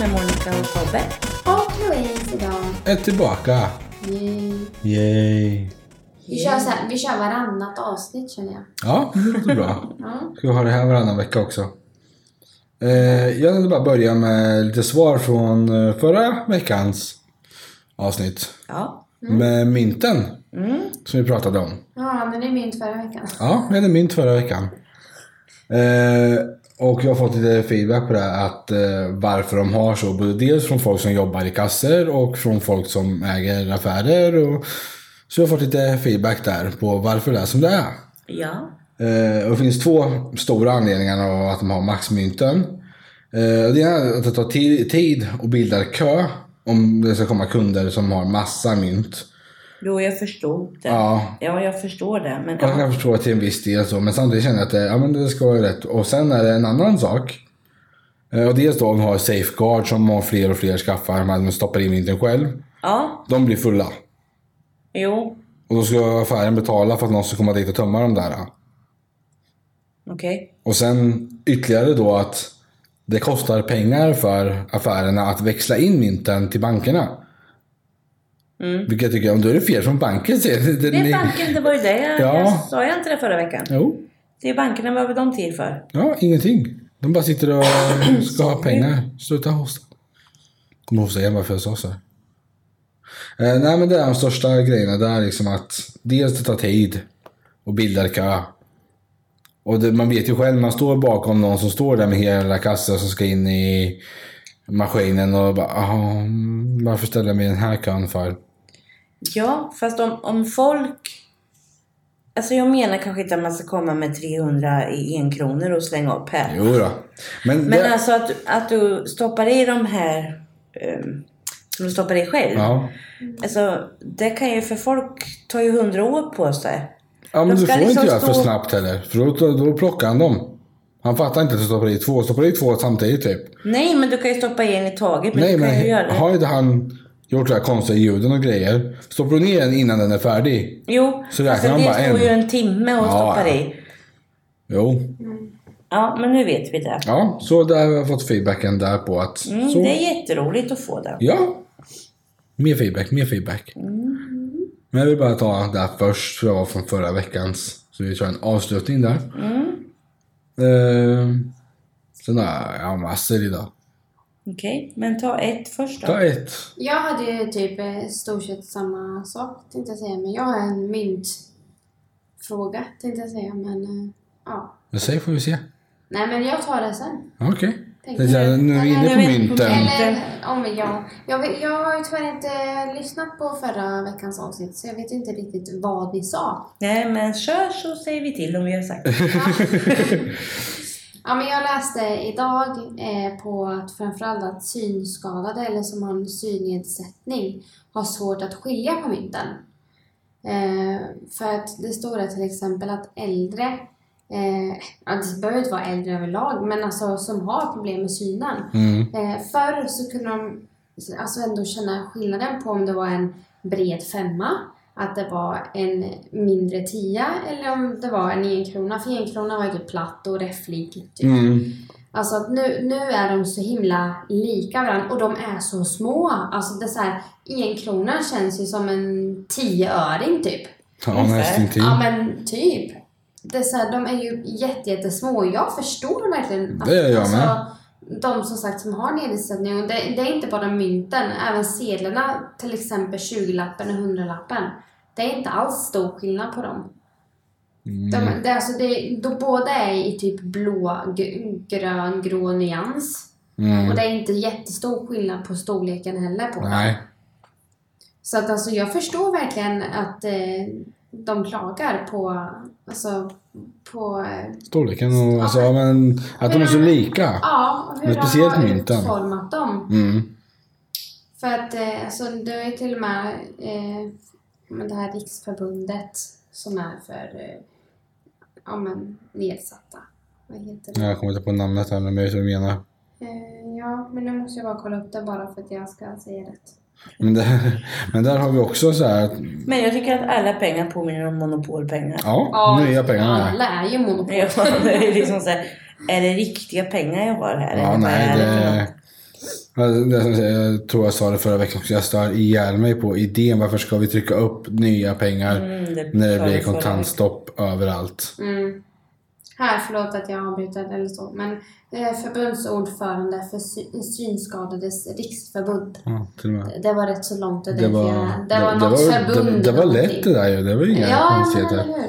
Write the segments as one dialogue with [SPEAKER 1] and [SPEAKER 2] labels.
[SPEAKER 1] med Monica och Tobbe.
[SPEAKER 2] Och Louise idag.
[SPEAKER 3] är tillbaka.
[SPEAKER 2] Yay.
[SPEAKER 3] Yay.
[SPEAKER 2] Vi kör, så här, vi kör varannat avsnitt känner jag.
[SPEAKER 3] Ja, det låter bra.
[SPEAKER 2] Ja.
[SPEAKER 3] Ska vi ha det här varannan vecka också. Eh, jag tänkte bara börja med lite svar från eh, förra veckans avsnitt.
[SPEAKER 1] Ja.
[SPEAKER 3] Med mynten
[SPEAKER 1] Mm.
[SPEAKER 3] som vi pratade om.
[SPEAKER 2] Ja, men det är mynt förra veckan.
[SPEAKER 3] Ja, vi hade mynt förra veckan. Eh, och jag har fått lite feedback på det här, att eh, varför de har så. Både dels från folk som jobbar i kasser och från folk som äger affärer. Och, så jag har fått lite feedback där på varför det är som det är.
[SPEAKER 1] Ja.
[SPEAKER 3] Eh, och det finns två stora anledningar av att de har maxmynten. Eh, och det ena är att det tar ti- tid och bildar kö om det ska komma kunder som har massa mynt.
[SPEAKER 1] Jo, jag förstod det.
[SPEAKER 3] Ja,
[SPEAKER 1] Ja, jag förstår det. Men
[SPEAKER 3] jag
[SPEAKER 1] ja.
[SPEAKER 3] kan förstå till en viss del så, men samtidigt känner jag att det, ja, men det ska vara rätt. Och sen är det en annan sak. Eh, och dels då de har safeguard som har fler och fler skaffar, men de stoppar in mynten själv.
[SPEAKER 1] ja,
[SPEAKER 3] De blir fulla.
[SPEAKER 1] jo,
[SPEAKER 3] Och då ska affären betala för att någon ska komma dit och tömma de där.
[SPEAKER 1] okej.
[SPEAKER 3] Och sen ytterligare då att det kostar pengar för affärerna att växla in mynten till bankerna. Vilket jag tycker, ja, men då är det fel från banken. Det, det,
[SPEAKER 1] Mm. Det
[SPEAKER 3] ni-
[SPEAKER 1] är banken, det var ju det jag,
[SPEAKER 3] Ja.
[SPEAKER 1] jag sa jag inte det förra veckan?
[SPEAKER 3] Jo,
[SPEAKER 1] Det är bankerna, vad var de till för?
[SPEAKER 3] ja, ingenting. De bara sitter och ska ha pengar. Sluta hosta. Kommer hosta igen bara för jag sa så här. Eh, nej men det är de största grejerna där liksom att dels det tar tid och bildar kö. Och det, man vet ju själv, man står bakom någon som står där med hela kassan som ska in i maskinen och bara "Ah, mm, varför ställer jag mig i den här kön för?
[SPEAKER 1] Ja, fast om, om folk... Alltså jag menar kanske inte att man ska komma med 300 i enkronor och slänga upp här.
[SPEAKER 3] Jo då. Men,
[SPEAKER 1] Men
[SPEAKER 3] det,
[SPEAKER 1] alltså att, att du stoppar i de här ehm, som du stoppar i själv.
[SPEAKER 3] ja.
[SPEAKER 1] Alltså, det kan ju för folk tar ju hundra år på sig.
[SPEAKER 3] ja men
[SPEAKER 1] de
[SPEAKER 3] du
[SPEAKER 1] ska
[SPEAKER 3] får
[SPEAKER 1] liksom
[SPEAKER 3] inte göra för
[SPEAKER 1] stå-
[SPEAKER 3] snabbt heller. För då, då plockar han dem. Han fattar inte att du stoppar i två. Stoppar i två samtidigt typ.
[SPEAKER 1] Nej, men du kan ju stoppa i en i taget. Men
[SPEAKER 3] Nej
[SPEAKER 1] du kan ju göra
[SPEAKER 3] men
[SPEAKER 1] det.
[SPEAKER 3] har inte han gjort så här konstiga ljuden och grejer. Stoppar du ner den innan den är färdig?
[SPEAKER 1] Jo,
[SPEAKER 3] Så
[SPEAKER 1] alltså,
[SPEAKER 3] räknar de
[SPEAKER 1] det
[SPEAKER 3] bara
[SPEAKER 1] står
[SPEAKER 3] en.
[SPEAKER 1] ju en timme och
[SPEAKER 3] Ja,
[SPEAKER 1] stoppar
[SPEAKER 3] ja.
[SPEAKER 1] i.
[SPEAKER 3] Jo.
[SPEAKER 1] Ja, men nu vet vi det.
[SPEAKER 3] Ja, så där har jag fått feedbacken där på att...
[SPEAKER 1] Mm,
[SPEAKER 3] så.
[SPEAKER 1] det är jätteroligt att få det.
[SPEAKER 3] Ja. Mer feedback, mer feedback.
[SPEAKER 1] Mm.
[SPEAKER 3] Men jag vill bara ta det här först, för det var från förra veckans. Så vi kör en avslutning där.
[SPEAKER 1] Mm.
[SPEAKER 3] Ehm, sen har jag- jag har massor idag.
[SPEAKER 1] Okej, men ta ett först då.
[SPEAKER 3] Ta ett.
[SPEAKER 2] Jag hade ju typ eh, stort sett samma sak tänkte jag säga, men jag har en myntfråga tänkte jag säga, men eh, ja.
[SPEAKER 3] Jag säger får vi se.
[SPEAKER 2] Nej, men jag tar det sen.
[SPEAKER 3] Ja, Okej.
[SPEAKER 2] Tänk
[SPEAKER 3] Det är så här, Nu är vi inne
[SPEAKER 1] Ja,
[SPEAKER 3] på
[SPEAKER 1] nu är vi på
[SPEAKER 3] mynten.
[SPEAKER 1] mynt.
[SPEAKER 2] Eller om jag, jag, vet- jag har ju tyvärr inte lyssnat på förra veckans avsnitt så jag vet inte riktigt vad vi sa.
[SPEAKER 1] Nej, men kör så säger vi till om vi har sagt
[SPEAKER 2] Ja, men jag läste idag eh, på att framförallt att synskadade eller som har en synnedsättning har svårt att skilja på mynten. Eh, för att det står där till exempel att äldre, eh, ja, det behöver inte vara äldre överlag, men alltså som har problem med synen.
[SPEAKER 3] Mm.
[SPEAKER 2] Eh, förr så kunde de alltså ändå känna skillnaden på om det var en bred femma, att det var en mindre tia eller om det var en enkrona. För enkrona var ju typ platt och räfflig. Typ.
[SPEAKER 3] Mm.
[SPEAKER 2] Alltså att nu, nu är de så himla lika varandra och de är så små. Alltså det är så här, enkrona känns ju som en tioöring typ.
[SPEAKER 3] Ja,
[SPEAKER 1] Ungefär.
[SPEAKER 3] nästintill.
[SPEAKER 2] Ja men typ. Det är så här, de är ju jätte, jättesmå jag förstår verkligen alltså,
[SPEAKER 3] Det gör jag med.
[SPEAKER 2] de som sagt som har nedsättning. Och det, det är inte bara mynten, även sedlarna, till exempel 20-lappen och 100-lappen. Det är inte alls stor skillnad på dem. De,
[SPEAKER 3] Mm.
[SPEAKER 2] det, är alltså det, då båda är i typ blå, g- grön, grå nyans.
[SPEAKER 3] Mm.
[SPEAKER 2] Och det är inte jättestor skillnad på storleken heller på dem.
[SPEAKER 3] Nej.
[SPEAKER 2] Så att alltså jag förstår verkligen att eh, de klagar på, alltså, på eh,
[SPEAKER 3] Storleken och alltså, ja, men att de är så lika.
[SPEAKER 2] ja, hur
[SPEAKER 3] Men speciellt
[SPEAKER 2] de har
[SPEAKER 3] mynten.
[SPEAKER 2] utformat dem.
[SPEAKER 3] Mm.
[SPEAKER 2] För att eh, alltså, det är till och med eh, men det här riksförbundet som är för eh, ja, men, nedsatta. Vad heter det?
[SPEAKER 3] Jag kommer inte på namnet här, men jag vet vad du menar.
[SPEAKER 2] Eh, ja, men nu måste jag bara kolla upp det bara för att jag ska säga rätt.
[SPEAKER 3] Men där, men där har vi också så här att,
[SPEAKER 1] Men jag tycker att alla pengar påminner om monopolpengar.
[SPEAKER 3] ja, nya pengar här.
[SPEAKER 2] Alla är ju monopol.
[SPEAKER 1] Ja, det är liksom så här, är det riktiga pengar jag har här?
[SPEAKER 3] Ja,
[SPEAKER 1] Eller vad
[SPEAKER 3] nej,
[SPEAKER 1] är det för något?
[SPEAKER 3] det, Ja, det som jag säger, Jag tror jag sa det förra veckan också. Jag stör ihjäl mig på idén. Varför ska vi trycka upp nya pengar
[SPEAKER 1] Mm, det
[SPEAKER 3] när det
[SPEAKER 1] sa vi
[SPEAKER 3] blir
[SPEAKER 1] förra
[SPEAKER 3] kontantstopp överallt?
[SPEAKER 2] Mm. Här, förlåt att jag avbryter eller så, men eh, förbundsordförande för sy- eh, synskadades riksförbund.
[SPEAKER 3] Ja, till och med.
[SPEAKER 2] Det var rätt så långt och
[SPEAKER 3] Det var,
[SPEAKER 2] jag, det var något förbund.
[SPEAKER 3] det, det var
[SPEAKER 2] eller
[SPEAKER 3] lätt
[SPEAKER 2] någonting.
[SPEAKER 3] det där ju. Det var inga
[SPEAKER 2] Ja, men eller
[SPEAKER 3] konstigheter.
[SPEAKER 2] hur.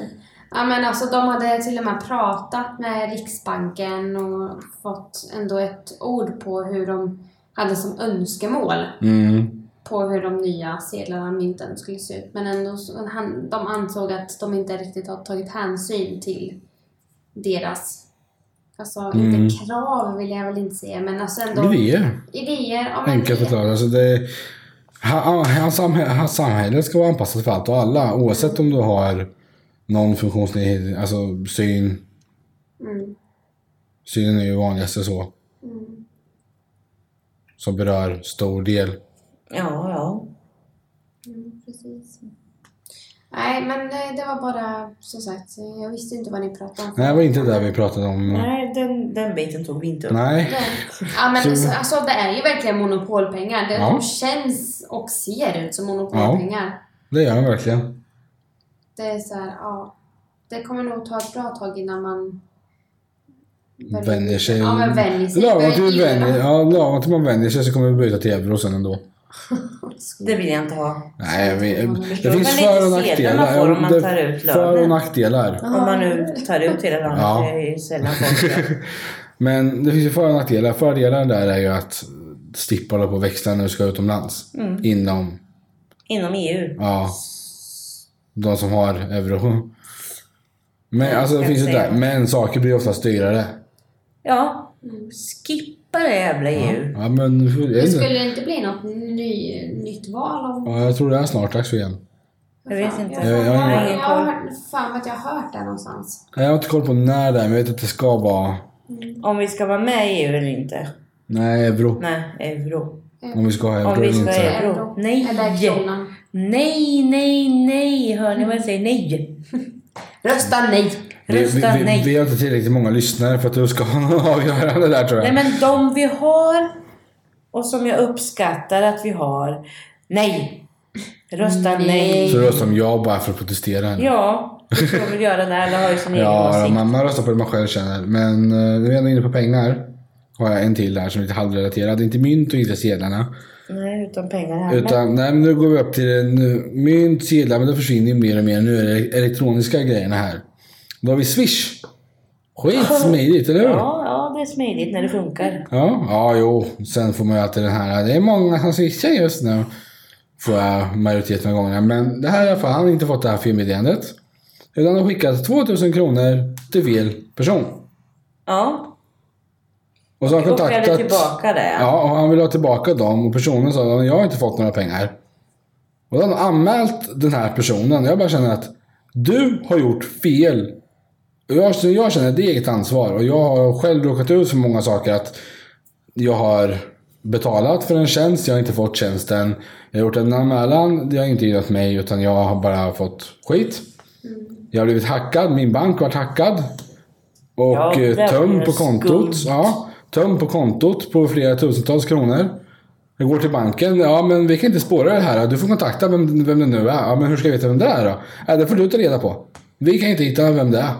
[SPEAKER 2] Ja, men alltså de hade till och med pratat med Riksbanken och fått ändå ett ord på hur de hade som önskemål
[SPEAKER 3] Mm.
[SPEAKER 2] på hur de nya sedlarna och mynten skulle se ut. Men ändå så, han, de ansåg att de inte riktigt har tagit hänsyn till deras, alltså
[SPEAKER 3] Mm.
[SPEAKER 2] inte krav vill jag väl inte säga, men alltså ändå
[SPEAKER 3] Idéer.
[SPEAKER 2] idéer om
[SPEAKER 3] Enkelt förklarat. Alltså det, ha- ha- samhä- ha- samhället ska vara anpassat för allt och alla. Oavsett om du har någon funktionsnedsättning, alltså syn.
[SPEAKER 2] Mm.
[SPEAKER 3] Synen är ju vanligaste så.
[SPEAKER 2] Mm.
[SPEAKER 3] Som berör stor del.
[SPEAKER 1] Ja, ja.
[SPEAKER 2] Mm, precis. Nej, men eh, det var bara som sagt, eh, jag visste inte vad ni pratade om.
[SPEAKER 3] Nej, det var inte det vi pratade om.
[SPEAKER 1] Nej, den, den biten tog vi inte upp.
[SPEAKER 3] Mm. Nej.
[SPEAKER 2] Nej. Ja, men
[SPEAKER 3] Så-
[SPEAKER 2] så, alltså, det är ju verkligen monopolpengar. Det,
[SPEAKER 3] Ja.
[SPEAKER 2] De känns och ser ut som monopolpengar.
[SPEAKER 3] Det gör den verkligen.
[SPEAKER 2] Det är så här, ja. Det kommer nog ta ett bra tag innan man
[SPEAKER 3] Vänjer sig.
[SPEAKER 2] Ja, men vänjer sig.
[SPEAKER 3] Lagom till, man
[SPEAKER 2] Börjar gilla.
[SPEAKER 3] vänjer, ja, lagom till man vänjer sig så kommer vi byta till euro sen ändå.
[SPEAKER 1] Det vill jag inte ha.
[SPEAKER 3] Nej, jag vet- det
[SPEAKER 1] Men
[SPEAKER 3] finns
[SPEAKER 1] lite
[SPEAKER 3] för och
[SPEAKER 1] sedlar man
[SPEAKER 3] nackdelar.
[SPEAKER 1] får om man
[SPEAKER 3] Det-
[SPEAKER 1] tar ut
[SPEAKER 3] För och
[SPEAKER 1] lönen.
[SPEAKER 3] nackdelar.
[SPEAKER 1] Om man nu tar ut hela landet.
[SPEAKER 3] Ja.
[SPEAKER 1] Det är ju sällan folk gör.
[SPEAKER 3] Men det finns ju för och nackdelar. Fördelen där är ju att slippa hålla på och växla när du ska utomlands.
[SPEAKER 1] Mm.
[SPEAKER 3] Inom,
[SPEAKER 1] Inom E EU.
[SPEAKER 3] ja, de som har euro. Men alltså det
[SPEAKER 1] jag
[SPEAKER 3] finns ju
[SPEAKER 1] säga.
[SPEAKER 3] där. Men saker blir oftast dyrare.
[SPEAKER 1] Ja. Skippa det jävla E EU.
[SPEAKER 3] Ja, men jag
[SPEAKER 2] Det
[SPEAKER 3] vet inte.
[SPEAKER 2] skulle inte bli något ny, nytt val om...
[SPEAKER 3] Ja, jag tror det är snart dags för igen.
[SPEAKER 1] Jag vet inte.
[SPEAKER 2] Jag,
[SPEAKER 3] Jag-
[SPEAKER 2] jag,
[SPEAKER 3] jag har
[SPEAKER 1] ingen
[SPEAKER 2] har
[SPEAKER 1] koll.
[SPEAKER 2] hört- fan att jag har hört det någonstans.
[SPEAKER 3] Nej, Jag har inte koll på när det är, men jag vet att det ska vara...
[SPEAKER 1] Om vi ska vara med i EU eller inte.
[SPEAKER 3] Nej, euro.
[SPEAKER 1] Nej, euro.
[SPEAKER 3] Om vi ska ha euro
[SPEAKER 1] Om vi ska
[SPEAKER 3] eller
[SPEAKER 1] ha
[SPEAKER 3] inte.
[SPEAKER 1] euro.
[SPEAKER 2] Euro.
[SPEAKER 1] Nej.
[SPEAKER 2] Eller kronan.
[SPEAKER 1] Nej, nej, nej. Hör ni vad jag säger? Nej.
[SPEAKER 2] Rösta nej!
[SPEAKER 3] Vi, vi,
[SPEAKER 1] Rösta
[SPEAKER 3] vi,
[SPEAKER 1] nej.
[SPEAKER 3] vi har inte tillräckligt många lyssnare för att du ska ha någon avgörande där tror
[SPEAKER 1] Nej
[SPEAKER 3] jag.
[SPEAKER 1] men de vi har och som jag uppskattar att vi har. Nej! Rösta nej.
[SPEAKER 3] Så röstar de ja bara för att protestera.
[SPEAKER 1] Ja, vi får väl göra det. Alla har ju sin egen
[SPEAKER 3] Ja,
[SPEAKER 1] åsikt.
[SPEAKER 3] man, man röstar på det man själv känner. Men eh, nu är jag ändå inne på pengar. Har jag en till här som är lite halvrelaterad. Inte mynt och inte sedlarna.
[SPEAKER 1] Nej, utan pengar här.
[SPEAKER 3] Utan, nej men nu går vi upp till eh, nu, mynt, sedlar, men det försvinner ju mer och mer. Nu är det elektroniska grejerna här. Då har vi Swish. Skitsmidigt, eller hur?
[SPEAKER 1] men, ja, ja, det är smidigt när det funkar.
[SPEAKER 3] Ja, ja, jo. Sen får man ju alltid den här. Det är många som swishar just nu. Får jag majoriteten av gångerna. Men det här i alla fall. Han har inte fått det här felmeddelandet. Utan har skickat 2000 kronor till fel person.
[SPEAKER 1] Ja,
[SPEAKER 3] Och så har han
[SPEAKER 1] och jag vill
[SPEAKER 3] kontaktat...
[SPEAKER 1] tillbaka det. Ja.
[SPEAKER 3] Ja, och han vill ha tillbaka dem. Och personen sa att jag har inte fått några pengar. Och då har han anmält den här personen. Jag bara känner att du har gjort fel. Och Jag, så jag känner att det är eget ansvar. Och jag har själv råkat ut för många saker. Att jag har betalat för en tjänst, jag har inte fått tjänsten. Jag har gjort en anmälan, det har inte gynnat mig utan jag har bara fått skit. Jag har blivit hackad, min bank har varit hackad. Och
[SPEAKER 1] Ja,
[SPEAKER 3] eh,
[SPEAKER 1] det
[SPEAKER 3] töm
[SPEAKER 1] blir
[SPEAKER 3] på kontot.
[SPEAKER 1] skumt.
[SPEAKER 3] Ja, töm på kontot på flera tusentals kronor. Jag går till banken. Ja, men vi kan inte spåra det här. Du får kontakta vem, vem det nu är. Ja, men hur ska jag veta vem det är då? Ja, det får du ta reda på. Vi kan inte hitta vem det är.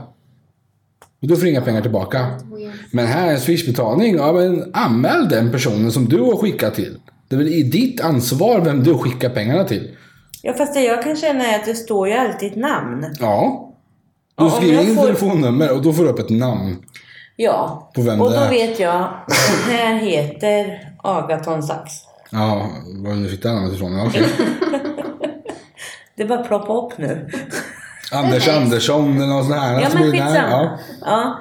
[SPEAKER 3] Och du får inga pengar tillbaka. Men här är en swishbetalning. Ja, men anmäl den personen som du har skickat till. Det är väl i ditt ansvar vem du skickar pengarna till.
[SPEAKER 1] fast det jag kan känna är att det står ju alltid ett namn.
[SPEAKER 3] Ja.
[SPEAKER 1] Ja,
[SPEAKER 3] Du
[SPEAKER 1] om
[SPEAKER 3] skriver
[SPEAKER 1] jag
[SPEAKER 3] in
[SPEAKER 1] får-
[SPEAKER 3] telefonnummer och då får du upp ett namn.
[SPEAKER 1] Ja,
[SPEAKER 3] På vem
[SPEAKER 1] och
[SPEAKER 3] det
[SPEAKER 1] då
[SPEAKER 3] är.
[SPEAKER 1] vet jag. Den här heter Agaton Sax.
[SPEAKER 3] Ja, var nu fick det namnet ifrån. Ja, okej.
[SPEAKER 1] Det är bara att ploppa upp nu.
[SPEAKER 3] Anders Andersson eller något sånt här.
[SPEAKER 1] Ja,
[SPEAKER 3] som
[SPEAKER 1] men
[SPEAKER 3] är där.
[SPEAKER 1] skitsamma.
[SPEAKER 3] Ja.
[SPEAKER 1] Ja.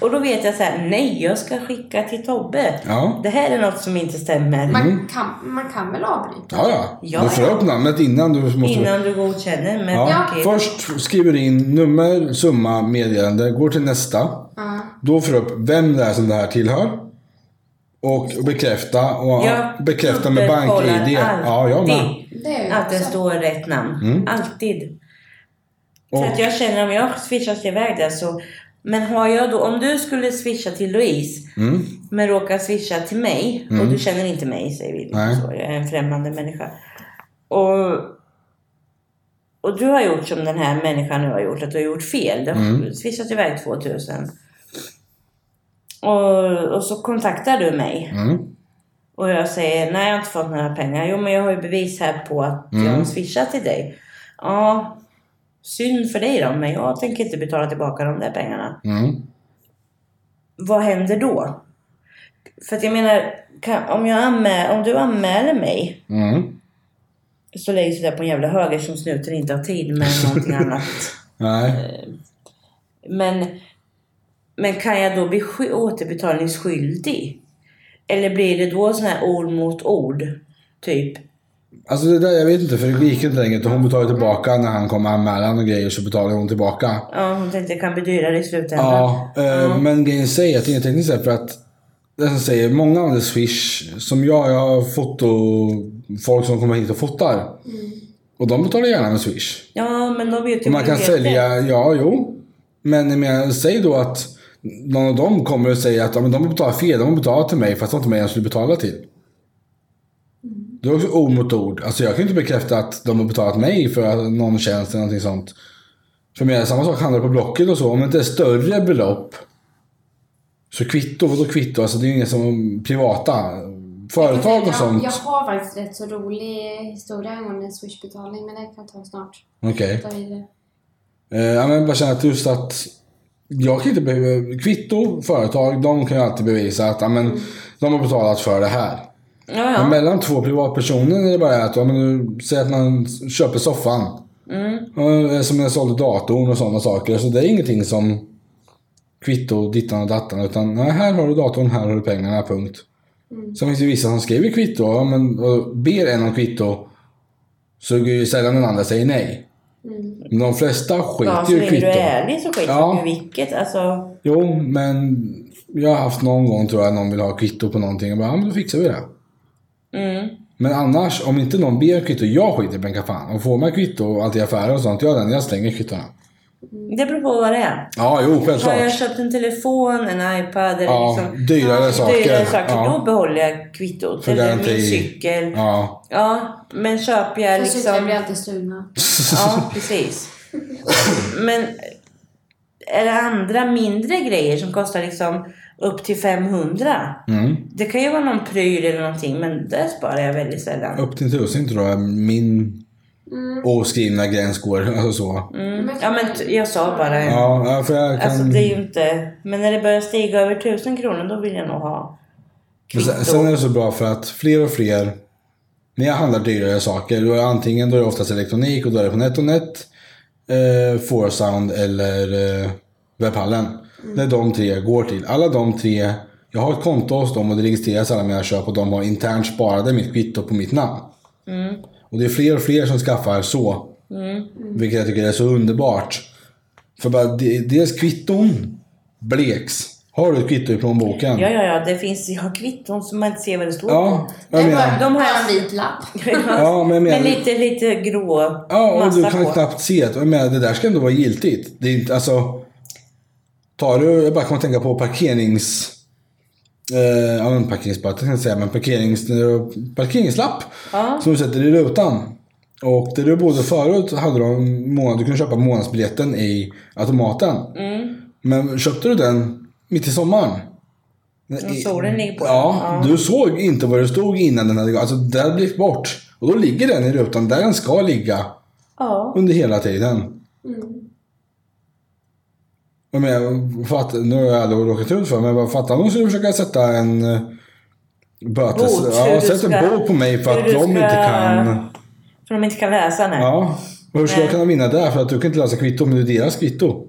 [SPEAKER 1] Och då vet jag så här, nej, jag ska skicka till Tobbe.
[SPEAKER 3] Ja.
[SPEAKER 1] Det här är något som inte stämmer.
[SPEAKER 3] Mm.
[SPEAKER 2] Man kan, man kan väl avbryta?
[SPEAKER 3] Ja, ja.
[SPEAKER 1] Ja,
[SPEAKER 3] du får
[SPEAKER 1] ja.
[SPEAKER 3] upp namnet innan du måste...
[SPEAKER 1] Innan du godkänner. Men
[SPEAKER 3] Ja.
[SPEAKER 1] okej.
[SPEAKER 3] Först skriver du in nummer, summa, meddelande. Går till nästa.
[SPEAKER 2] Ja.
[SPEAKER 3] Då får du upp vem det är som det här tillhör. Och bekräfta. Och
[SPEAKER 1] Jag
[SPEAKER 3] bekräfta med
[SPEAKER 1] dubbelkollar
[SPEAKER 3] bank-id. Ja, jag med.
[SPEAKER 1] alltid
[SPEAKER 2] Det är ju
[SPEAKER 1] Att det
[SPEAKER 2] också-
[SPEAKER 1] står rätt namn. Alltid. Så
[SPEAKER 3] Och-
[SPEAKER 1] att jag känner om jag swishas iväg där så Men har jag då, om du skulle swisha till Louise, men råkar swisha till mig, och du känner inte mig säger vi,
[SPEAKER 3] Nej.
[SPEAKER 1] så, jag är en främmande människa. Och, och du har gjort som den här människan nu har gjort, att du har gjort fel. Du har
[SPEAKER 3] Mm.
[SPEAKER 1] swishat iväg 2000. Och, och så kontaktar du mig.
[SPEAKER 3] Mm.
[SPEAKER 1] Och jag säger, nej jag har inte fått några pengar. Jo men jag har ju bevis här på att jag
[SPEAKER 3] Mm.
[SPEAKER 1] har swishat till dig. Ja, synd för dig då, men jag tänker inte betala tillbaka de där pengarna.
[SPEAKER 3] Mm.
[SPEAKER 1] Vad händer då? För att jag menar, kan, om, jag anmäl, om du anmäler mig
[SPEAKER 3] Mm.
[SPEAKER 1] så läggs det där på en jävla höger som snuten inte har tid med någonting annat.
[SPEAKER 3] Nej.
[SPEAKER 1] Men, men kan jag då bli sky- återbetalningsskyldig? Eller blir det då sån här ord mot ord? Typ.
[SPEAKER 3] Alltså det där, jag vet inte för det gick inte längre. Hon betalade tillbaka när han kom med anmälan och grejer så betalade hon tillbaka.
[SPEAKER 1] Ja, hon tänkte det kan bli dyrare i slutändan.
[SPEAKER 3] Ja, eh, men grejen säger att det är tekniskt sett för att den som säger många av de swish som jag, jag har foto, folk som kommer hit och fotar.
[SPEAKER 1] Mm.
[SPEAKER 3] Och de betalar gärna med swish.
[SPEAKER 1] Ja, men då vet ju
[SPEAKER 3] Och man kan
[SPEAKER 1] myndigheten.
[SPEAKER 3] sälja, ja jo. Men jag menar, säg då att någon av dem kommer och säger att ja, men de har betalat fel, de har betalat till mig fast det var inte mig jag skulle betala till. Det är också ord mot ord. Alltså jag kan ju inte bekräfta att de har betalat mig för någon tjänst eller någonting sånt. För mig är det samma sak handlar på Blocket och så. Om det inte är större belopp så kvitto, vadå kvitto? Alltså det är ju inget som privata företag och sånt.
[SPEAKER 2] Jag, jag har faktiskt rätt så rolig historia angående swishbetalning men det kan jag ta snart.
[SPEAKER 3] Okej.
[SPEAKER 2] Ta vidare.
[SPEAKER 3] Eh, ja, men jag bara känner att just att jag kan inte behöva, kvitto, företag, de kan ju alltid bevisa att ja, men, de har betalat för det här.
[SPEAKER 1] Ja,
[SPEAKER 3] Men
[SPEAKER 1] ja.
[SPEAKER 3] mellan två privatpersoner är det bara att, ja, men, du- säg att man köper soffan.
[SPEAKER 1] Mm.
[SPEAKER 3] Eh, Som jag sålde datorn och sådana saker. Så det är ingenting som kvitto, dittan och dattan. Utan nej, här har du datorn, här har du pengarna, punkt.
[SPEAKER 1] Mm.
[SPEAKER 3] Sen finns det vissa som skriver kvitto ja, men, och ber en om kvitto. Så går ju sällan den andra säger nej. Men de flesta skiter
[SPEAKER 1] Mm. ja så
[SPEAKER 3] ju i
[SPEAKER 1] länge du
[SPEAKER 3] kvitto.
[SPEAKER 1] är ärlig så skiter
[SPEAKER 3] Ja.
[SPEAKER 1] ja. du i vilket. Alltså,
[SPEAKER 3] Jo, men jag har haft någon gång tror jag någon vill ha kvitto på någonting. Jag bara, ja men då fixar vi det.
[SPEAKER 1] mm.
[SPEAKER 3] Men annars, om inte någon ber om kvitto, jag skiter i blänka fan. Och får man kvitto och allt i affärer och sånt, jag, den, jag slänger kvittona.
[SPEAKER 1] Det beror på vad det är.
[SPEAKER 3] Ja, jo,
[SPEAKER 1] Har jag
[SPEAKER 3] självklart.
[SPEAKER 1] köpt en telefon, en iPad eller
[SPEAKER 3] Ja,
[SPEAKER 1] liksom,
[SPEAKER 3] dyrare saker.
[SPEAKER 1] dyrare saker,
[SPEAKER 3] Ja.
[SPEAKER 1] då behåller jag kvittot.
[SPEAKER 3] För
[SPEAKER 1] Eller min
[SPEAKER 3] garanti.
[SPEAKER 1] cykel. Ja.
[SPEAKER 3] Ja.
[SPEAKER 1] men köper jag
[SPEAKER 2] För cyklar blir
[SPEAKER 1] liksom...
[SPEAKER 2] alltid stulna.
[SPEAKER 1] Ja, precis. Men är det andra mindre grejer som kostar liksom upp till 500?
[SPEAKER 3] Mm.
[SPEAKER 1] Det kan ju vara någon pryl eller någonting, men det sparar jag väldigt sällan.
[SPEAKER 3] Upp till tusen tror jag min
[SPEAKER 1] Mm.
[SPEAKER 3] oskrivna gräns går. Alltså så.
[SPEAKER 2] Men-
[SPEAKER 1] Ja men t- jag sa bara en.
[SPEAKER 3] Ja, ja, för jag
[SPEAKER 1] Mm.
[SPEAKER 3] kan...
[SPEAKER 1] Alltså det är ju inte... Men när det börjar stiga över tusen kronor då vill jag nog ha
[SPEAKER 3] Men
[SPEAKER 1] kvitto.
[SPEAKER 3] sen, sen är det så bra för att fler och fler, när jag handlar dyrare saker, då är det antingen då är det oftast elektronik och då är det på NetOnNet, eh, Foursound eller eh, Webhallen. Det är de tre jag går till. Alla de tre, jag har ett konto hos dem och det registreras alla mina köp och de har internt sparade mitt kvitto på mitt namn. Och det är fler och fler som skaffar så. Vilket jag tycker är så underbart. För bara, de- dels kvitton bleks. Har du ett kvitto i plånboken?
[SPEAKER 1] Ja, ja, ja. Det finns jag har kvitton som man inte ser vad det står
[SPEAKER 3] Ja,
[SPEAKER 2] Det
[SPEAKER 3] jag
[SPEAKER 2] är
[SPEAKER 3] menar.
[SPEAKER 2] bara
[SPEAKER 1] de
[SPEAKER 2] de
[SPEAKER 1] här-
[SPEAKER 2] här... en vit lapp.
[SPEAKER 1] på.
[SPEAKER 3] Ja, men jag menar-
[SPEAKER 1] Med lite, lite grå
[SPEAKER 3] Ja, och
[SPEAKER 1] massa
[SPEAKER 3] du kan
[SPEAKER 1] på.
[SPEAKER 3] knappt se det. Jag menar, det där ska ändå vara giltigt. Det är inte, alltså... Tar du, jag bara kommer att tänka på parkerings... Eh, ja, men parkeringsböter kan jag säga, men parkerings, parkeringslapp.
[SPEAKER 1] Ja.
[SPEAKER 3] Som du sätter i rutan. Och där du bodde förut hade du en månad, du kunde köpa månadsbiljetten i automaten.
[SPEAKER 1] Mm.
[SPEAKER 3] Men köpte du den mitt i sommaren?
[SPEAKER 1] Och solen ligger på.
[SPEAKER 3] Ja, du såg inte vad det stod innan den hade gått. Alltså, det hade blivit bort. Och då ligger den i rutan där den ska ligga
[SPEAKER 1] Ja.
[SPEAKER 3] under hela tiden.
[SPEAKER 1] Mm.
[SPEAKER 3] Jag menar, fatt, nu har jag aldrig råkat ut för men fattar om de skulle försöka sätta en eh, bötes...
[SPEAKER 1] Bot, hur
[SPEAKER 3] ja,
[SPEAKER 1] du
[SPEAKER 3] sätt en
[SPEAKER 1] ska-
[SPEAKER 3] bot på mig för
[SPEAKER 1] hur
[SPEAKER 3] att
[SPEAKER 1] du
[SPEAKER 3] de
[SPEAKER 1] ska-
[SPEAKER 3] inte kan...
[SPEAKER 1] För de inte kan läsa, nej.
[SPEAKER 3] Ja. Och hur ska jag kunna vinna där? För att du kan inte läsa kvitto, men det är deras kvitto.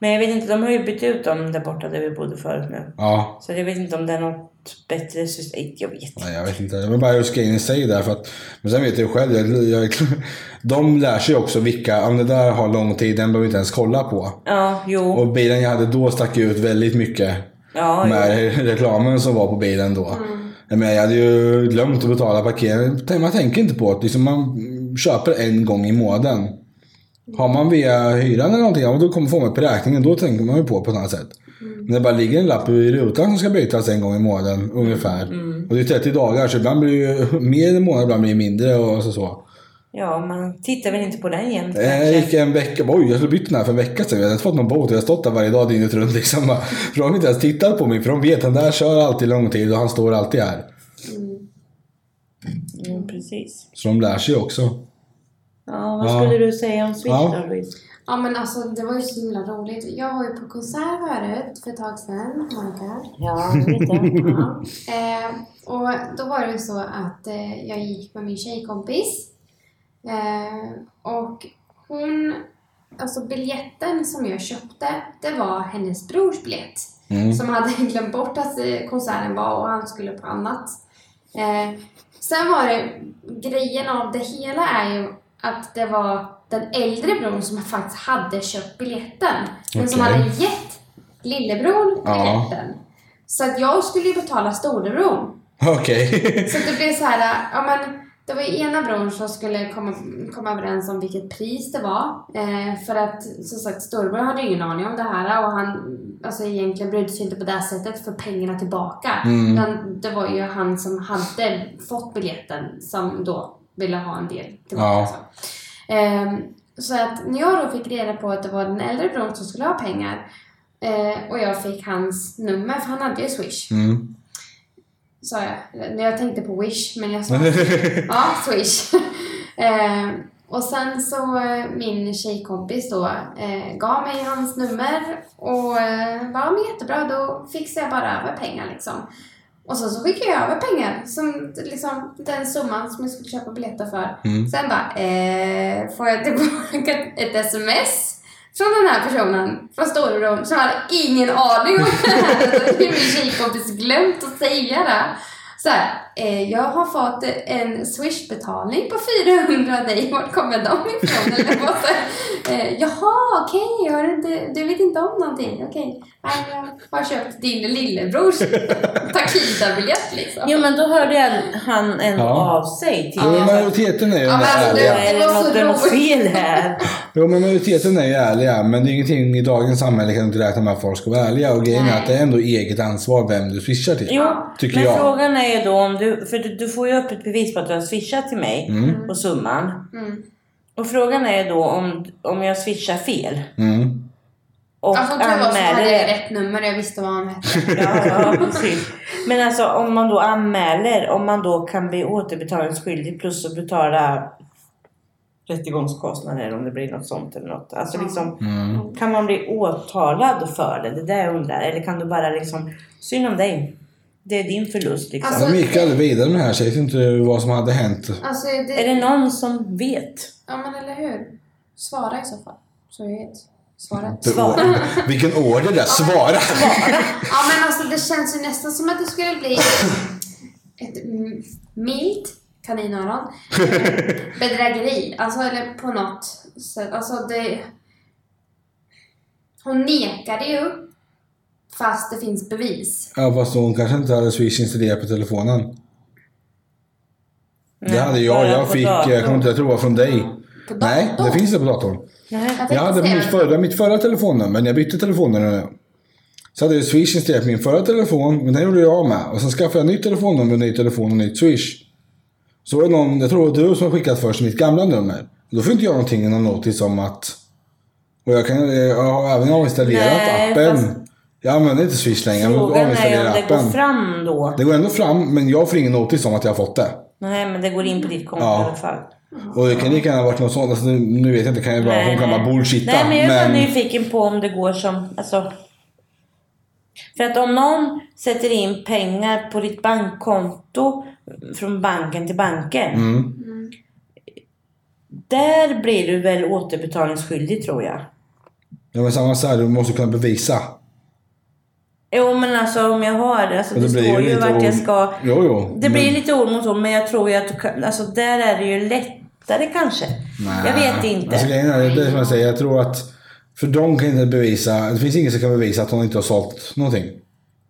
[SPEAKER 1] Men jag vet inte, de har ju bytt ut dem där borta där vi bodde förut nu.
[SPEAKER 3] Ja.
[SPEAKER 1] Så jag vet inte om det är något bättre system. Jag vet inte.
[SPEAKER 3] Nej, jag vet inte. Det var bara just grejen i sig där. För att, men sen vet jag ju själv. Jag, jag, de lär sig också vilka... Om det där har lång tid, den behöver vi inte ens kolla på.
[SPEAKER 1] Ja, jo.
[SPEAKER 3] Och bilen jag hade då stack ju ut väldigt mycket.
[SPEAKER 1] ja, Mm. jo.
[SPEAKER 3] med reklamen som var på bilen då. Jag, menar, jag hade ju glömt att betala parkering. Man tänker inte på att liksom man köper en gång i månaden. Har man via hyran eller någonting, ja, men då kommer få med på räkningen. Då tänker man ju på på ett annat sätt.
[SPEAKER 1] Mm.
[SPEAKER 3] Men det bara ligger en lapp i rutan som ska bytas en gång i månaden ungefär.
[SPEAKER 1] Mm.
[SPEAKER 3] Och det är 30 dagar så ibland blir det ju mer än en månad, ibland blir det mindre och så. så.
[SPEAKER 1] Ja, man tittar väl inte på den jämt
[SPEAKER 3] Jag
[SPEAKER 1] kanske.
[SPEAKER 3] gick en vecka, bara, oj jag skulle bytt den här för en vecka sedan. Jag hade inte fått någon bot och jag har stått där varje dag dygnet runt. Liksom. bara. För de har inte ens tittat på mig för de vet att den där kör alltid lång tid och han står alltid här.
[SPEAKER 1] Mm, precis.
[SPEAKER 3] Så de lär sig ju också.
[SPEAKER 1] Ja, vad
[SPEAKER 3] Ja.
[SPEAKER 1] skulle du säga om Swish
[SPEAKER 3] Ja.
[SPEAKER 1] då Louise?
[SPEAKER 2] Ja men alltså det var ju så himla roligt. Jag var ju på konsert förut för ett tag sedan, Monica.
[SPEAKER 1] Ja, lite.
[SPEAKER 2] Ja. Eh, och då var det så att eh, jag gick med min tjejkompis. Eh, och hon, alltså biljetten som jag köpte, det var hennes brors biljett.
[SPEAKER 3] Mm.
[SPEAKER 2] Som hade glömt bort att eh, konserten var och han skulle på annat. Eh, sen var det, grejen av det hela är ju att det var den äldre bron som faktiskt hade köpt biljetten. Men som
[SPEAKER 3] Okej.
[SPEAKER 2] hade gett lillebror
[SPEAKER 3] Ja.
[SPEAKER 2] biljetten. Så att jag skulle ju betala storebron.
[SPEAKER 3] Okej.
[SPEAKER 2] Så att det blev så här, ja men det var ju ena bron som skulle komma, komma överens om vilket pris det var. Eh, för att som sagt storebror hade ju ingen aning om det här och han alltså, egentligen brydde sig inte på det sättet för pengarna tillbaka.
[SPEAKER 3] Mm.
[SPEAKER 2] Men det var ju han som hade fått biljetten som då ville ha en del tillbaka.
[SPEAKER 3] Ja.
[SPEAKER 2] alltså. Ehm, så att när jag då fick reda på att det var den äldre bron som skulle ha pengar eh, och jag fick hans nummer, för han hade ju Swish,
[SPEAKER 3] Mm.
[SPEAKER 2] sa jag. Eller, Jag tänkte på Wish, men jag sa ja, Swish. eh, och sen så eh, min tjejkompis då eh, gav mig hans nummer och eh, bara, "Ja, men jättebra, då fixar jag bara över pengar liksom. Och sen så skickade jag över pengar, som liksom den summan som jag skulle köpa biljetter för.
[SPEAKER 3] Mm.
[SPEAKER 2] Sen bara, eh, får jag tillbaka ett sms från den här personen, från storebror, som hade ingen aning om det här. Det hade min tjejkompis glömt att säga det. Så här, eh, jag har fått en swishbetalning på 400 av dig, vart kommer de ifrån? Eller vad så här, eh, Jaha, okej, jag har inte, du vet inte om någonting, okej. Nej, Jag har köpt din lillebrors Takida-biljett liksom.
[SPEAKER 1] Jo, men då hörde jag han en
[SPEAKER 3] Ja.
[SPEAKER 1] av sig till
[SPEAKER 3] Jo, men
[SPEAKER 1] er.
[SPEAKER 3] majoriteten är ju
[SPEAKER 2] Ja, men alltså,
[SPEAKER 1] Då
[SPEAKER 3] ärliga.
[SPEAKER 2] det-
[SPEAKER 1] Är
[SPEAKER 2] var
[SPEAKER 1] det
[SPEAKER 2] så
[SPEAKER 1] något, det är något
[SPEAKER 2] roligt.
[SPEAKER 1] fel här?
[SPEAKER 3] Jo, men majoriteten är ju ärliga. Men det är ingenting i dagens samhälle kan du inte räkna med att folk ska vara ärliga. Och grejen är
[SPEAKER 2] Nej.
[SPEAKER 3] att det är ändå eget ansvar vem du swishar till.
[SPEAKER 1] Jo,
[SPEAKER 3] Tycker
[SPEAKER 1] men
[SPEAKER 3] jag.
[SPEAKER 1] frågan är ju då om du... För du, du får ju upp ett bevis på att du har swishat till mig
[SPEAKER 3] Mm.
[SPEAKER 1] på summan.
[SPEAKER 2] Mm.
[SPEAKER 1] Och frågan är ju då om, om jag swishar fel.
[SPEAKER 3] Mm.
[SPEAKER 1] Och
[SPEAKER 2] Ja, som tur var så
[SPEAKER 1] anmäler
[SPEAKER 2] hade Alltså, jag
[SPEAKER 1] det.
[SPEAKER 2] rätt nummer och jag visste vad han hette.
[SPEAKER 1] Ja, ja, precis. Men alltså om man då anmäler, om man då kan bli återbetalningsskyldig plus att betala rättegångskostnader om det blir något sånt eller något. Alltså liksom,
[SPEAKER 3] Mm.
[SPEAKER 1] kan man bli åtalad för det? Det är det jag undrar. Eller kan du bara liksom, synd om dig. Det är din förlust liksom.
[SPEAKER 2] Alltså-
[SPEAKER 3] De gick aldrig vidare med det här. så Jag vet inte vad som hade hänt.
[SPEAKER 2] Alltså,
[SPEAKER 1] är
[SPEAKER 2] det,
[SPEAKER 1] det någon som vet?
[SPEAKER 2] ja men eller hur? Svara i så fall. Så jag vet. Svaret.
[SPEAKER 3] Det-
[SPEAKER 1] Svar.
[SPEAKER 3] Vilken order det är. Svara!
[SPEAKER 2] Ja men alltså det känns ju nästan som att det skulle bli ett mm, milt kaninöron. eh, Bedrägeri. Alltså eller på något sätt. Alltså det... Hon nekade ju. Fast det finns bevis.
[SPEAKER 3] Ja, fast hon kanske inte hade Swish installerat på telefonen. Det
[SPEAKER 1] Nej,
[SPEAKER 3] hade jag.
[SPEAKER 1] bara
[SPEAKER 3] Jag
[SPEAKER 1] på
[SPEAKER 3] fick,
[SPEAKER 1] datorn.
[SPEAKER 3] jag kommer inte att tro det var från dig.
[SPEAKER 2] På
[SPEAKER 3] Nej, det
[SPEAKER 2] datorn.
[SPEAKER 3] finns det på datorn.
[SPEAKER 1] Nej.
[SPEAKER 2] Jag tänkte
[SPEAKER 3] Jag hade
[SPEAKER 2] säga
[SPEAKER 3] mitt
[SPEAKER 2] det.
[SPEAKER 3] förra, mitt förra telefonnummer, när jag bytte telefonnummer. Så hade jag Swish installerat på min förra telefon, men den gjorde jag av med. Och sen skaffade jag nytt telefonnummer, ny telefon och nytt Swish. Så var det någon, jag tror det var du som skickat först mitt gamla nummer. Då får inte jag någonting, någon notis om att... Och jag, kan, jag har även avinstallerat
[SPEAKER 1] Nej,
[SPEAKER 3] appen.
[SPEAKER 1] fast-
[SPEAKER 3] Jag använder inte Swish längre, jag
[SPEAKER 1] Frågan är
[SPEAKER 3] avinstallerar
[SPEAKER 1] om det går
[SPEAKER 3] appen.
[SPEAKER 1] fram då.
[SPEAKER 3] Det går ändå fram, men jag får ingen notis om att jag har fått det.
[SPEAKER 1] Nej, men det går in på ditt konto
[SPEAKER 3] Ja.
[SPEAKER 1] i alla fall.
[SPEAKER 3] Och det kan lika gärna ha varit något sånt. Alltså, nu, nu vet jag inte, kan jag bara, hon kan bara bullshitta.
[SPEAKER 1] Nej, men jag är bara nyfiken på om det går som... Alltså, för att om någon sätter in pengar på ditt bankkonto från banken till banken.
[SPEAKER 3] Mm.
[SPEAKER 1] Där blir du väl återbetalningsskyldig tror jag.
[SPEAKER 3] Ja, men samma så här, du måste kunna bevisa.
[SPEAKER 1] Jo men alltså om jag har alltså, det,
[SPEAKER 3] Men blir
[SPEAKER 1] står ju
[SPEAKER 3] lite
[SPEAKER 1] vart jag
[SPEAKER 3] ord-
[SPEAKER 1] ska.
[SPEAKER 3] Jo, jo.
[SPEAKER 1] Det blir
[SPEAKER 3] men-
[SPEAKER 1] lite ord mot ord men jag tror ju att du kan, alltså, där är det ju lättare kanske. Jag vet inte.
[SPEAKER 3] Alltså, grejen är, det är som jag säger, jag tror att för de kan inte bevisa, det finns ingen som kan bevisa att hon inte har sålt någonting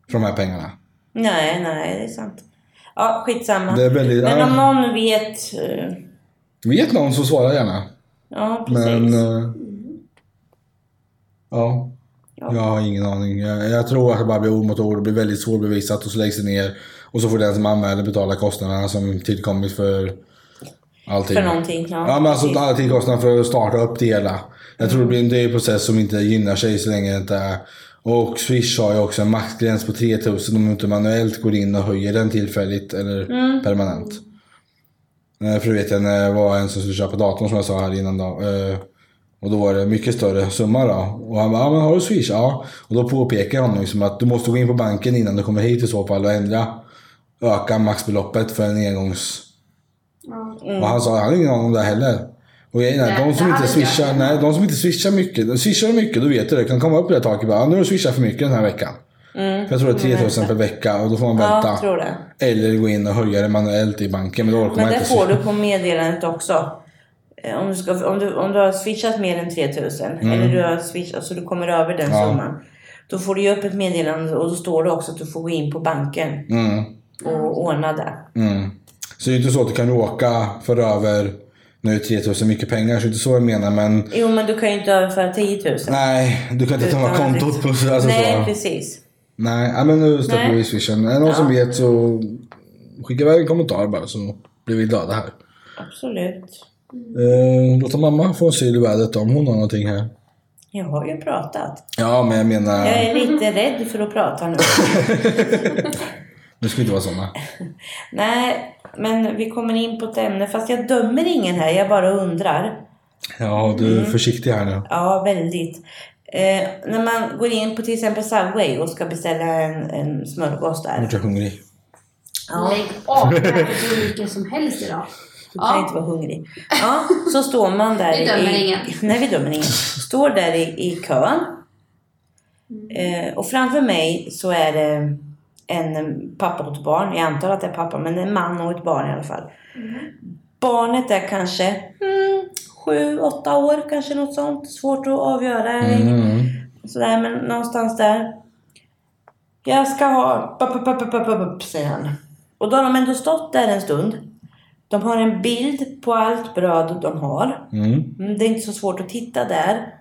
[SPEAKER 3] för de här pengarna.
[SPEAKER 1] Nej, nej det är sant. Ja skitsamma.
[SPEAKER 3] Det är väldigt-
[SPEAKER 1] men om
[SPEAKER 3] ja.
[SPEAKER 1] någon vet eh,
[SPEAKER 3] Vet någon så svara gärna.
[SPEAKER 1] Ja, precis.
[SPEAKER 3] Men... eh, Ja.
[SPEAKER 1] Ja.
[SPEAKER 3] Jag har ingen aning. Jag, jag tror att det bara blir ord mot ord. Det blir väldigt svårbevisat och så läggs det ner. Och så får den som anmäler betala kostnaderna som tillkommit för allting.
[SPEAKER 1] för någonting. Ja,
[SPEAKER 3] Ja men alltså
[SPEAKER 1] precis.
[SPEAKER 3] alla tillkostnader för att starta upp det hela. Jag tror det blir en dyr process som inte gynnar sig så länge det inte är. Och Swish har ju också en maxgräns på 3000 om inte manuellt går in och höjer den tillfälligt eller
[SPEAKER 1] Mm.
[SPEAKER 3] permanent. Eh, För du vet jag när det var en som skulle köpa datorn som jag sa här innan då. eh, Och då var det mycket större summa då. Och han bara, ja men har du Swish? Ja. Och då påpekar jag honom liksom att du måste gå in på banken innan du kommer hit i så fall och ändra. Öka maxbeloppet för en engångs...
[SPEAKER 2] Ja.
[SPEAKER 3] Och han sa, han har ingen aning om det heller. Och grejen är,
[SPEAKER 2] Nej,
[SPEAKER 3] de som
[SPEAKER 2] det
[SPEAKER 3] inte
[SPEAKER 2] hade jag
[SPEAKER 3] swishar,
[SPEAKER 2] inte.
[SPEAKER 3] nej, de som inte swishar mycket, swishar de mycket då vet du det, kan komma upp i det här taket och bara, "Ah, nu har du swishat för mycket den här veckan. För jag tror det är 3000 per vecka och då får man
[SPEAKER 1] Ja,
[SPEAKER 3] vänta.
[SPEAKER 1] jag tror det.
[SPEAKER 3] Eller gå in och höja det manuellt i banken, men då orkar
[SPEAKER 1] Men
[SPEAKER 3] man
[SPEAKER 1] det
[SPEAKER 3] inte.
[SPEAKER 1] får
[SPEAKER 3] swisha.
[SPEAKER 1] du på meddelandet också. Eh, Om du, ska, om, du, om du har swishat mer än 3000 eller du har swishat så du kommer över den
[SPEAKER 3] Mm. Ja.
[SPEAKER 1] summan. Då får du ju upp ett meddelande och då står det också att du får gå in på banken
[SPEAKER 3] Mm,
[SPEAKER 1] och ordna det.
[SPEAKER 3] mm. Så det är inte så att du kan råka för över, nu är 3000 mycket pengar, så det är inte så jag menar, men
[SPEAKER 1] Jo men du kan ju inte överföra 10 000.
[SPEAKER 3] nej, du kan inte
[SPEAKER 1] Utan
[SPEAKER 3] tömma
[SPEAKER 1] att
[SPEAKER 3] kontot på
[SPEAKER 1] liksom-
[SPEAKER 3] alltså,
[SPEAKER 1] Nej
[SPEAKER 3] så.
[SPEAKER 1] precis.
[SPEAKER 3] Nej, ja, men nu släpper
[SPEAKER 1] Nej.
[SPEAKER 3] vi swishen. Är det någon som vet så skicka iväg en kommentar bara så blir vi glada här.
[SPEAKER 1] Absolut.
[SPEAKER 3] Eh, låta mamma få en syl i vädret om hon har någonting här.
[SPEAKER 1] Jag har ju pratat.
[SPEAKER 3] Ja, men jag menar,
[SPEAKER 1] Jag är lite rädd för att prata nu.
[SPEAKER 3] nu ska vi inte vara såna.
[SPEAKER 1] Nej men vi kommer in på ett ämne fast jag dömer ingen här. Jag bara undrar.
[SPEAKER 3] Ja, du är
[SPEAKER 1] Mm.
[SPEAKER 3] försiktig här nu.
[SPEAKER 1] Ja, väldigt. Eh, när man går in på till exempel Subway och ska beställa en, en smörgås
[SPEAKER 3] Jag
[SPEAKER 1] där.
[SPEAKER 3] är hungrig.
[SPEAKER 1] Ja,
[SPEAKER 2] Lägg av! Det här är hur mycket som helst idag.
[SPEAKER 1] du kan
[SPEAKER 2] Ja.
[SPEAKER 1] inte vara hungrig. Ja, så står man där.
[SPEAKER 2] Vi dömer
[SPEAKER 1] i,
[SPEAKER 2] ingen.
[SPEAKER 1] Nej, vi dömer ingen. Står där i, i kön.
[SPEAKER 2] Mm.
[SPEAKER 1] Eh, och framför mig så är det en pappa och ett barn. Jag antar att det är pappa, men en man och ett barn i alla fall.
[SPEAKER 2] Mm.
[SPEAKER 1] Barnet är kanske mm, sju, åtta år, kanske något sånt. Svårt att avgöra.
[SPEAKER 3] Mm.
[SPEAKER 1] Sådär, men någonstans där. Jag ska ha... Pop, pop, pop, pop, pop, pop, säger han. Och då har de ändå stått där en stund. De har en bild på allt bröd de har.
[SPEAKER 3] Mm.
[SPEAKER 1] Mm, Det är inte så svårt att titta där.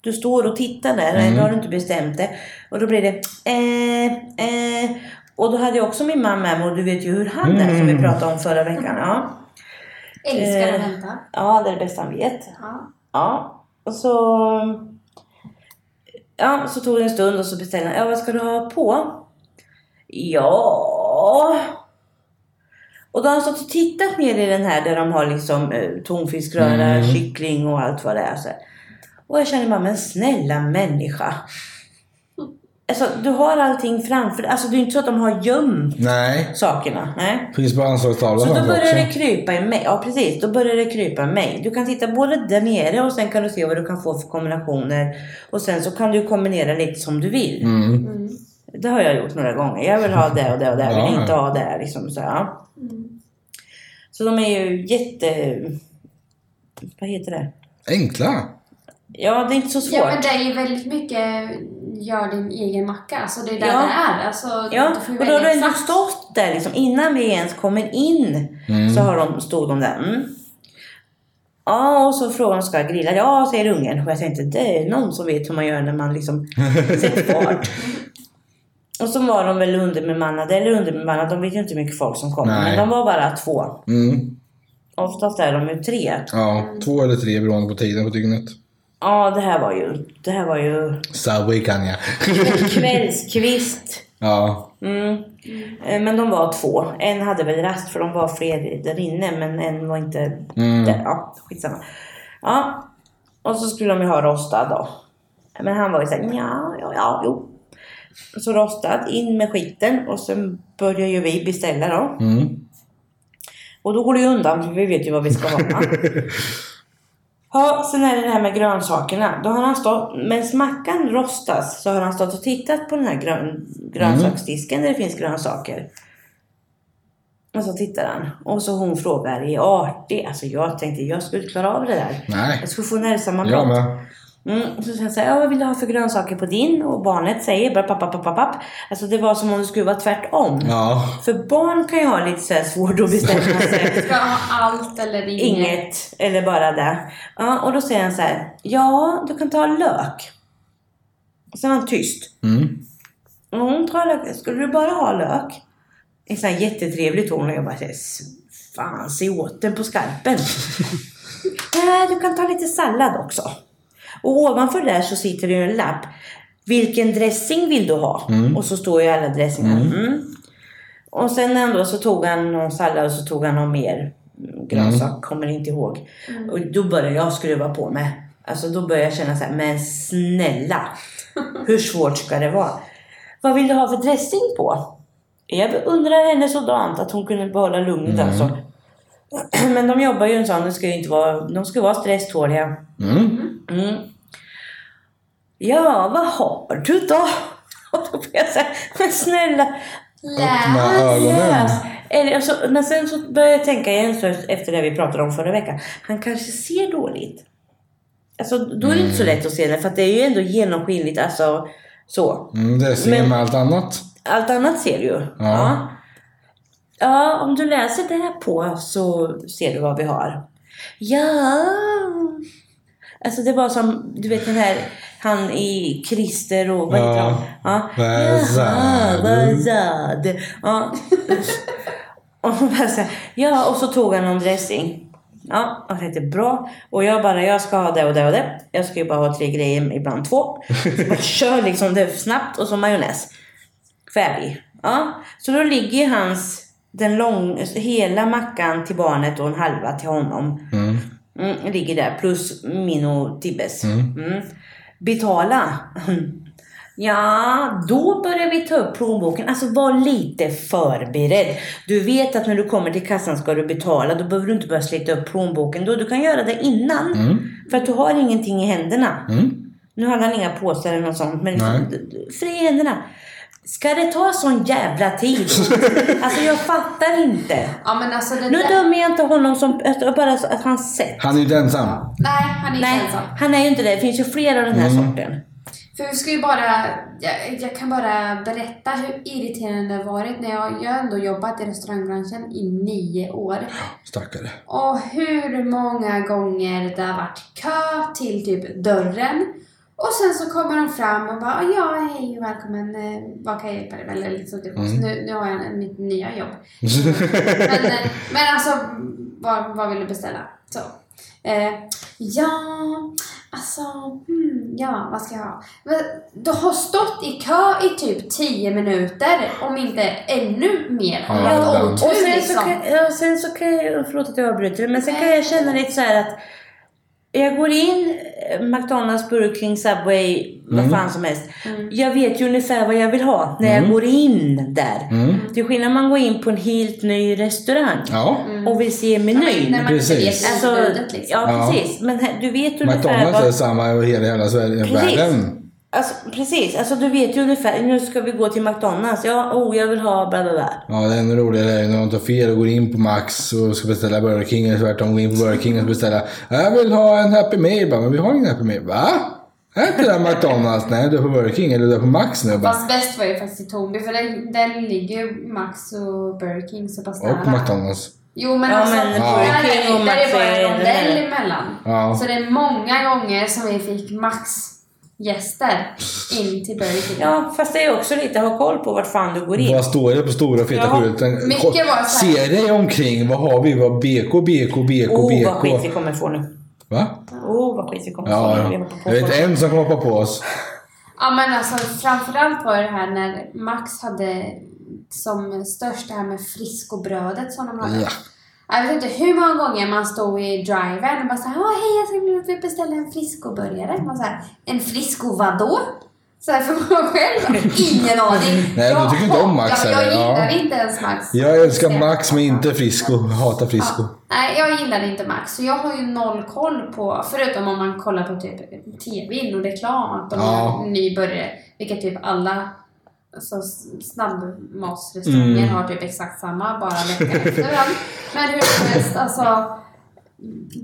[SPEAKER 1] Du står och tittar där, eller har du inte bestämt det. Och då blir det... Eh, eh. Och då hade jag också min man med mig och du vet ju hur han är som vi pratade om förra veckan. Ja,
[SPEAKER 2] Älskar att
[SPEAKER 1] Eh.
[SPEAKER 2] vänta.
[SPEAKER 1] ja det är det bästa han vet.
[SPEAKER 2] Ja.
[SPEAKER 1] Ja, och så... Ja, så tog det en stund och så beställde han. Ja, vad ska du ha på? Ja... Och då har han stått och tittat ner i den här där de har liksom eh, tonfiskröra, kyckling och allt vad det är. Så här. Och jag känner bara, men snälla människa. Alltså, du har allting framför Alltså, det är inte så att de har gömt
[SPEAKER 3] Nej,
[SPEAKER 1] sakerna. Nej.
[SPEAKER 3] finns på anslagstavlan
[SPEAKER 1] Så då
[SPEAKER 3] framför
[SPEAKER 1] börjar det
[SPEAKER 3] också.
[SPEAKER 1] krypa i mig. Ja precis, då börjar det krypa i mig. Du kan titta både där nere och sen kan du se vad du kan få för kombinationer. Och sen så kan du kombinera lite som du vill.
[SPEAKER 3] Mm.
[SPEAKER 2] Mm.
[SPEAKER 1] Det har jag gjort några gånger. Jag vill ha det och det och det. Jag vill
[SPEAKER 3] Ja.
[SPEAKER 1] inte ha det. Liksom, så, ja.
[SPEAKER 2] Mm.
[SPEAKER 1] så de är ju jätte... Vad heter det?
[SPEAKER 3] Enkla.
[SPEAKER 1] Ja, det är inte så svårt.
[SPEAKER 2] Ja, men det är ju väldigt mycket gör din egen macka. Alltså det är där
[SPEAKER 1] Ja.
[SPEAKER 2] det är. Alltså,
[SPEAKER 1] Ja,
[SPEAKER 2] du får ju
[SPEAKER 1] och då har
[SPEAKER 2] välja
[SPEAKER 1] du ändå
[SPEAKER 2] exakt.
[SPEAKER 1] stått där liksom. Innan vi ens kommer in så har de, stod de där. Mm. Ja, och så frågar de ska jag grilla. Ja, säger ungen. Och jag tänkte, det är någon som vet hur man gör när man liksom sätter fart. och så var de väl underbemannade, eller underbemannade, de vet ju inte hur mycket folk som kommer.
[SPEAKER 3] Nej.
[SPEAKER 1] Men de var bara två.
[SPEAKER 3] Mm.
[SPEAKER 1] Oftast är de ju tre.
[SPEAKER 3] Ja, två eller tre beroende på tiden på dygnet.
[SPEAKER 1] Ja, det här var ju, det här var ju
[SPEAKER 3] Subway kan jag.
[SPEAKER 1] en kvällskvist.
[SPEAKER 3] Ja.
[SPEAKER 1] Mm. Eh, Men de var två. En hade väl rast för de var fler där inne men en var inte där. Ja, skitsamma. Ja. Och så skulle de ju ha rostad då. Men han var ju såhär, ja, ja, ja, jo. Så rostad, in med skiten och sen börjar ju vi beställa då.
[SPEAKER 3] Mm.
[SPEAKER 1] Och då går det ju undan för vi vet ju vad vi ska ha. Ja, sen är det det här med grönsakerna. Då har han stått, medan mackan rostas så har han stått och tittat på den här grön, grönsaksdisken där det finns grönsaker. Och så tittar han. Och så hon frågar, är artig? Alltså jag tänkte jag skulle klara av det där.
[SPEAKER 3] Nej.
[SPEAKER 1] Jag skulle få nervsammanbrott.
[SPEAKER 3] Jag med.
[SPEAKER 1] Mm, så sen säger jag, "Ja, vad vill du ha för grönsaker på din? Och barnet säger bara papp, papp, papp, papp, papp. Alltså det var som om det skulle vara tvärtom.
[SPEAKER 3] Ja.
[SPEAKER 1] För barn kan ju ha lite så här svårt att bestämma sig.
[SPEAKER 2] Ska jag ha allt eller inget?
[SPEAKER 1] Inget, eller bara det. Ja, och då säger han så här, ja, du kan ta lök. Och sen var han tyst.
[SPEAKER 3] Mm.
[SPEAKER 1] Och hon tar lök, skulle du bara ha lök? En sån här jättetrevlig ton och jag bara, "S- fan, se åt den på skarpen. Nej, du kan ta lite sallad också. Och ovanför där så sitter det ju en lapp. Vilken dressing vill du ha? Och så står ju alla dressingar. Mm. Och sen ändå så tog han någon sallad och så tog han någon mer grönsak, kommer inte ihåg. Och då började jag skruva på mig. Alltså då började jag känna så här, men snälla, hur svårt ska det vara? Vad vill du ha för dressing på? Jag beundrar henne sådant att hon kunde behålla lugnet alltså. Men de jobbar ju en sån, det ska ju inte vara, de ska vara stresståliga.
[SPEAKER 3] Mm.
[SPEAKER 1] Mm. Ja, vad har du då? Och då blir jag såhär, men snälla.
[SPEAKER 3] Öppna
[SPEAKER 2] Läs!
[SPEAKER 3] ögonen.
[SPEAKER 1] läs. Eller, alltså, men sen så började jag tänka igen så efter det vi pratade om förra veckan. Han kanske ser dåligt. Alltså, då är det inte så lätt att se det, för att det är ju ändå genomskinligt. Alltså, så.
[SPEAKER 3] Mm, det ser
[SPEAKER 1] Men-
[SPEAKER 3] med allt annat.
[SPEAKER 1] Allt annat ser du ju. Ja. ja, om du läser det här på så ser du vad vi har. Ja. Alltså det var som, du vet den här, han i Christer och vad heter
[SPEAKER 3] Ja.
[SPEAKER 1] han? Ja.
[SPEAKER 3] Vad sa
[SPEAKER 1] Jaha,
[SPEAKER 3] du?
[SPEAKER 1] vad sa du? Ja. Och hon bara så här, ja, och så tog han någon dressing. Ja, och jag tänkte bra. Och jag bara, jag ska ha det och det och det. Jag ska ju bara ha tre grejer, ibland två. Så bara kör liksom det snabbt och så majonnäs. Färdig. Ja, så då ligger hans, den lång, hela mackan till barnet och en halva till honom.
[SPEAKER 3] Mm.
[SPEAKER 1] Mm, ligger där, plus min och Tibbes. Mm. Betala. Ja, då börjar vi ta upp plånboken. Alltså var lite förberedd. Du vet att när du kommer till kassan ska du betala. Då behöver du inte börja slita upp plånboken. Då, du kan göra det innan. För att du har ingenting i händerna.
[SPEAKER 3] Mm.
[SPEAKER 1] Nu har han inga påsar eller något sånt. Men liksom, d- d- fri i händerna. Ska det ta sån jävla tid? alltså jag fattar inte.
[SPEAKER 2] Ja men alltså det
[SPEAKER 1] Nu
[SPEAKER 2] där...
[SPEAKER 1] dömer jag inte honom som alltså, bara så att han sett.
[SPEAKER 3] Han är ju inte ensam.
[SPEAKER 2] Nej, han är inte
[SPEAKER 1] Nej,
[SPEAKER 2] ensam.
[SPEAKER 1] han är ju inte det. Det finns ju fler av den här sorten.
[SPEAKER 2] För vi ska ju bara, jag, jag kan bara berätta hur irriterande det har varit när jag, jag har ändå jobbat i restaurangbranschen i nio år.
[SPEAKER 3] Stackare.
[SPEAKER 2] Och hur många gånger det har varit kö till typ dörren. Och sen så kommer de fram och bara ja, hej och välkommen, eh, vad kan jag hjälpa dig med? Eller liksom, typ, så nu, nu har jag mitt nya jobb. men, eh, men alltså, vad, vad vill du beställa? Så. Eh, ja, alltså, hmm, ja, vad ska jag ha? Men Du har stått i kö i typ 10 minuter, om inte ännu mer. Om
[SPEAKER 3] Ja,
[SPEAKER 2] du har haft
[SPEAKER 3] ibland.
[SPEAKER 2] otur
[SPEAKER 1] Och sen så,
[SPEAKER 2] liksom.
[SPEAKER 1] kan, ja, sen så kan jag, förlåt att jag avbryter, men sen kan jag känna lite så här att jag går in eh, McDonalds, Burger King, Subway,
[SPEAKER 3] Mm.
[SPEAKER 1] vad fan som helst. Jag vet ju ungefär vad jag vill ha när
[SPEAKER 3] Mm.
[SPEAKER 1] jag går in där. Till skillnad om man går in på en helt ny restaurang
[SPEAKER 3] Ja.
[SPEAKER 1] och vill se
[SPEAKER 2] Nej,
[SPEAKER 1] menyn.
[SPEAKER 2] när man inte
[SPEAKER 3] Precis.
[SPEAKER 2] vet
[SPEAKER 1] Alltså,
[SPEAKER 2] utbudet liksom.
[SPEAKER 1] Ja,
[SPEAKER 3] Ja.
[SPEAKER 1] precis. Men här- du vet ungefär
[SPEAKER 3] McDonalds
[SPEAKER 1] vad...
[SPEAKER 3] är samma över hela, hela Sverige,
[SPEAKER 1] Precis.
[SPEAKER 3] världen.
[SPEAKER 1] Alltså, precis. Alltså, du vet ju ungefär. Nu ska vi gå till McDonalds. Ja, oh, jag vill ha bla bla bla.
[SPEAKER 3] Ja, det ännu roligare är ju när de tar fel och går in på Max och ska beställa Burger King eller tvärtom går in på Burger King och ska beställa Jag vill ha en Happy Meal. Bara, men vi har ingen Happy Meal. Va? Är inte det här McDonalds? Nej, du är på Burger King eller du är på Max nu. Bara,
[SPEAKER 2] Fast bäst var ju faktiskt i Tornby för den, den ligger ju Max och Burger King så pass
[SPEAKER 3] och på
[SPEAKER 2] nära.
[SPEAKER 3] McDonalds.
[SPEAKER 2] Jo men
[SPEAKER 1] Ja,
[SPEAKER 2] alltså,
[SPEAKER 1] men
[SPEAKER 2] där,
[SPEAKER 1] Burger King och
[SPEAKER 2] är, där är
[SPEAKER 1] Max
[SPEAKER 2] bara
[SPEAKER 1] är
[SPEAKER 2] en
[SPEAKER 1] det här.
[SPEAKER 2] rondell emellan.
[SPEAKER 3] Ja.
[SPEAKER 2] Så det är många gånger som vi fick Max gäster in till Burger King.
[SPEAKER 1] Ja, fast det är också lite ha koll på vart fan du går in.
[SPEAKER 3] Vad står det på stora feta
[SPEAKER 1] Ja.
[SPEAKER 3] skylten?
[SPEAKER 2] Mycket var så här-
[SPEAKER 3] Se dig omkring. Vad har vi? Vad BK, BK, BK,
[SPEAKER 1] Oh, vad skit vi
[SPEAKER 3] BK.
[SPEAKER 1] kommer få nu.
[SPEAKER 3] Va?
[SPEAKER 1] Oh, vad skit vi kommer få
[SPEAKER 3] Ja,
[SPEAKER 1] nu. Vi
[SPEAKER 3] ja.
[SPEAKER 1] hoppar på
[SPEAKER 3] Jag vet
[SPEAKER 1] folk.
[SPEAKER 3] en som hoppar på oss.
[SPEAKER 2] Ja men alltså framförallt var det här när Max hade som störst det här med friskobrödet som de hade.
[SPEAKER 3] Ja.
[SPEAKER 2] Jag vet inte hur många gånger man stod i driven och bara såhär Åh hej jag skulle vilja beställa en friskoburgare. Man såhär, en frisko vadå? Såhär för man själv ingen aning.
[SPEAKER 3] Nej,
[SPEAKER 2] Jag
[SPEAKER 3] du tycker inte om Max
[SPEAKER 2] Jag, jag
[SPEAKER 3] heller, ja.
[SPEAKER 2] gillar inte ens Max.
[SPEAKER 3] Jag älskar Max men inte Frisco. Jag hatar Frisco.
[SPEAKER 1] Ah,
[SPEAKER 2] Nej, jag gillar inte Max. Så jag har ju noll koll på, förutom om man kollar på typ tv och reklam, att de
[SPEAKER 3] Ja.
[SPEAKER 2] har en ny burgare. Vilket typ alla alltså, s-
[SPEAKER 3] Mm.
[SPEAKER 2] snabbmatsrestauranger har typ exakt samma, bara veckan efter varandra. Men hur som helst, alltså.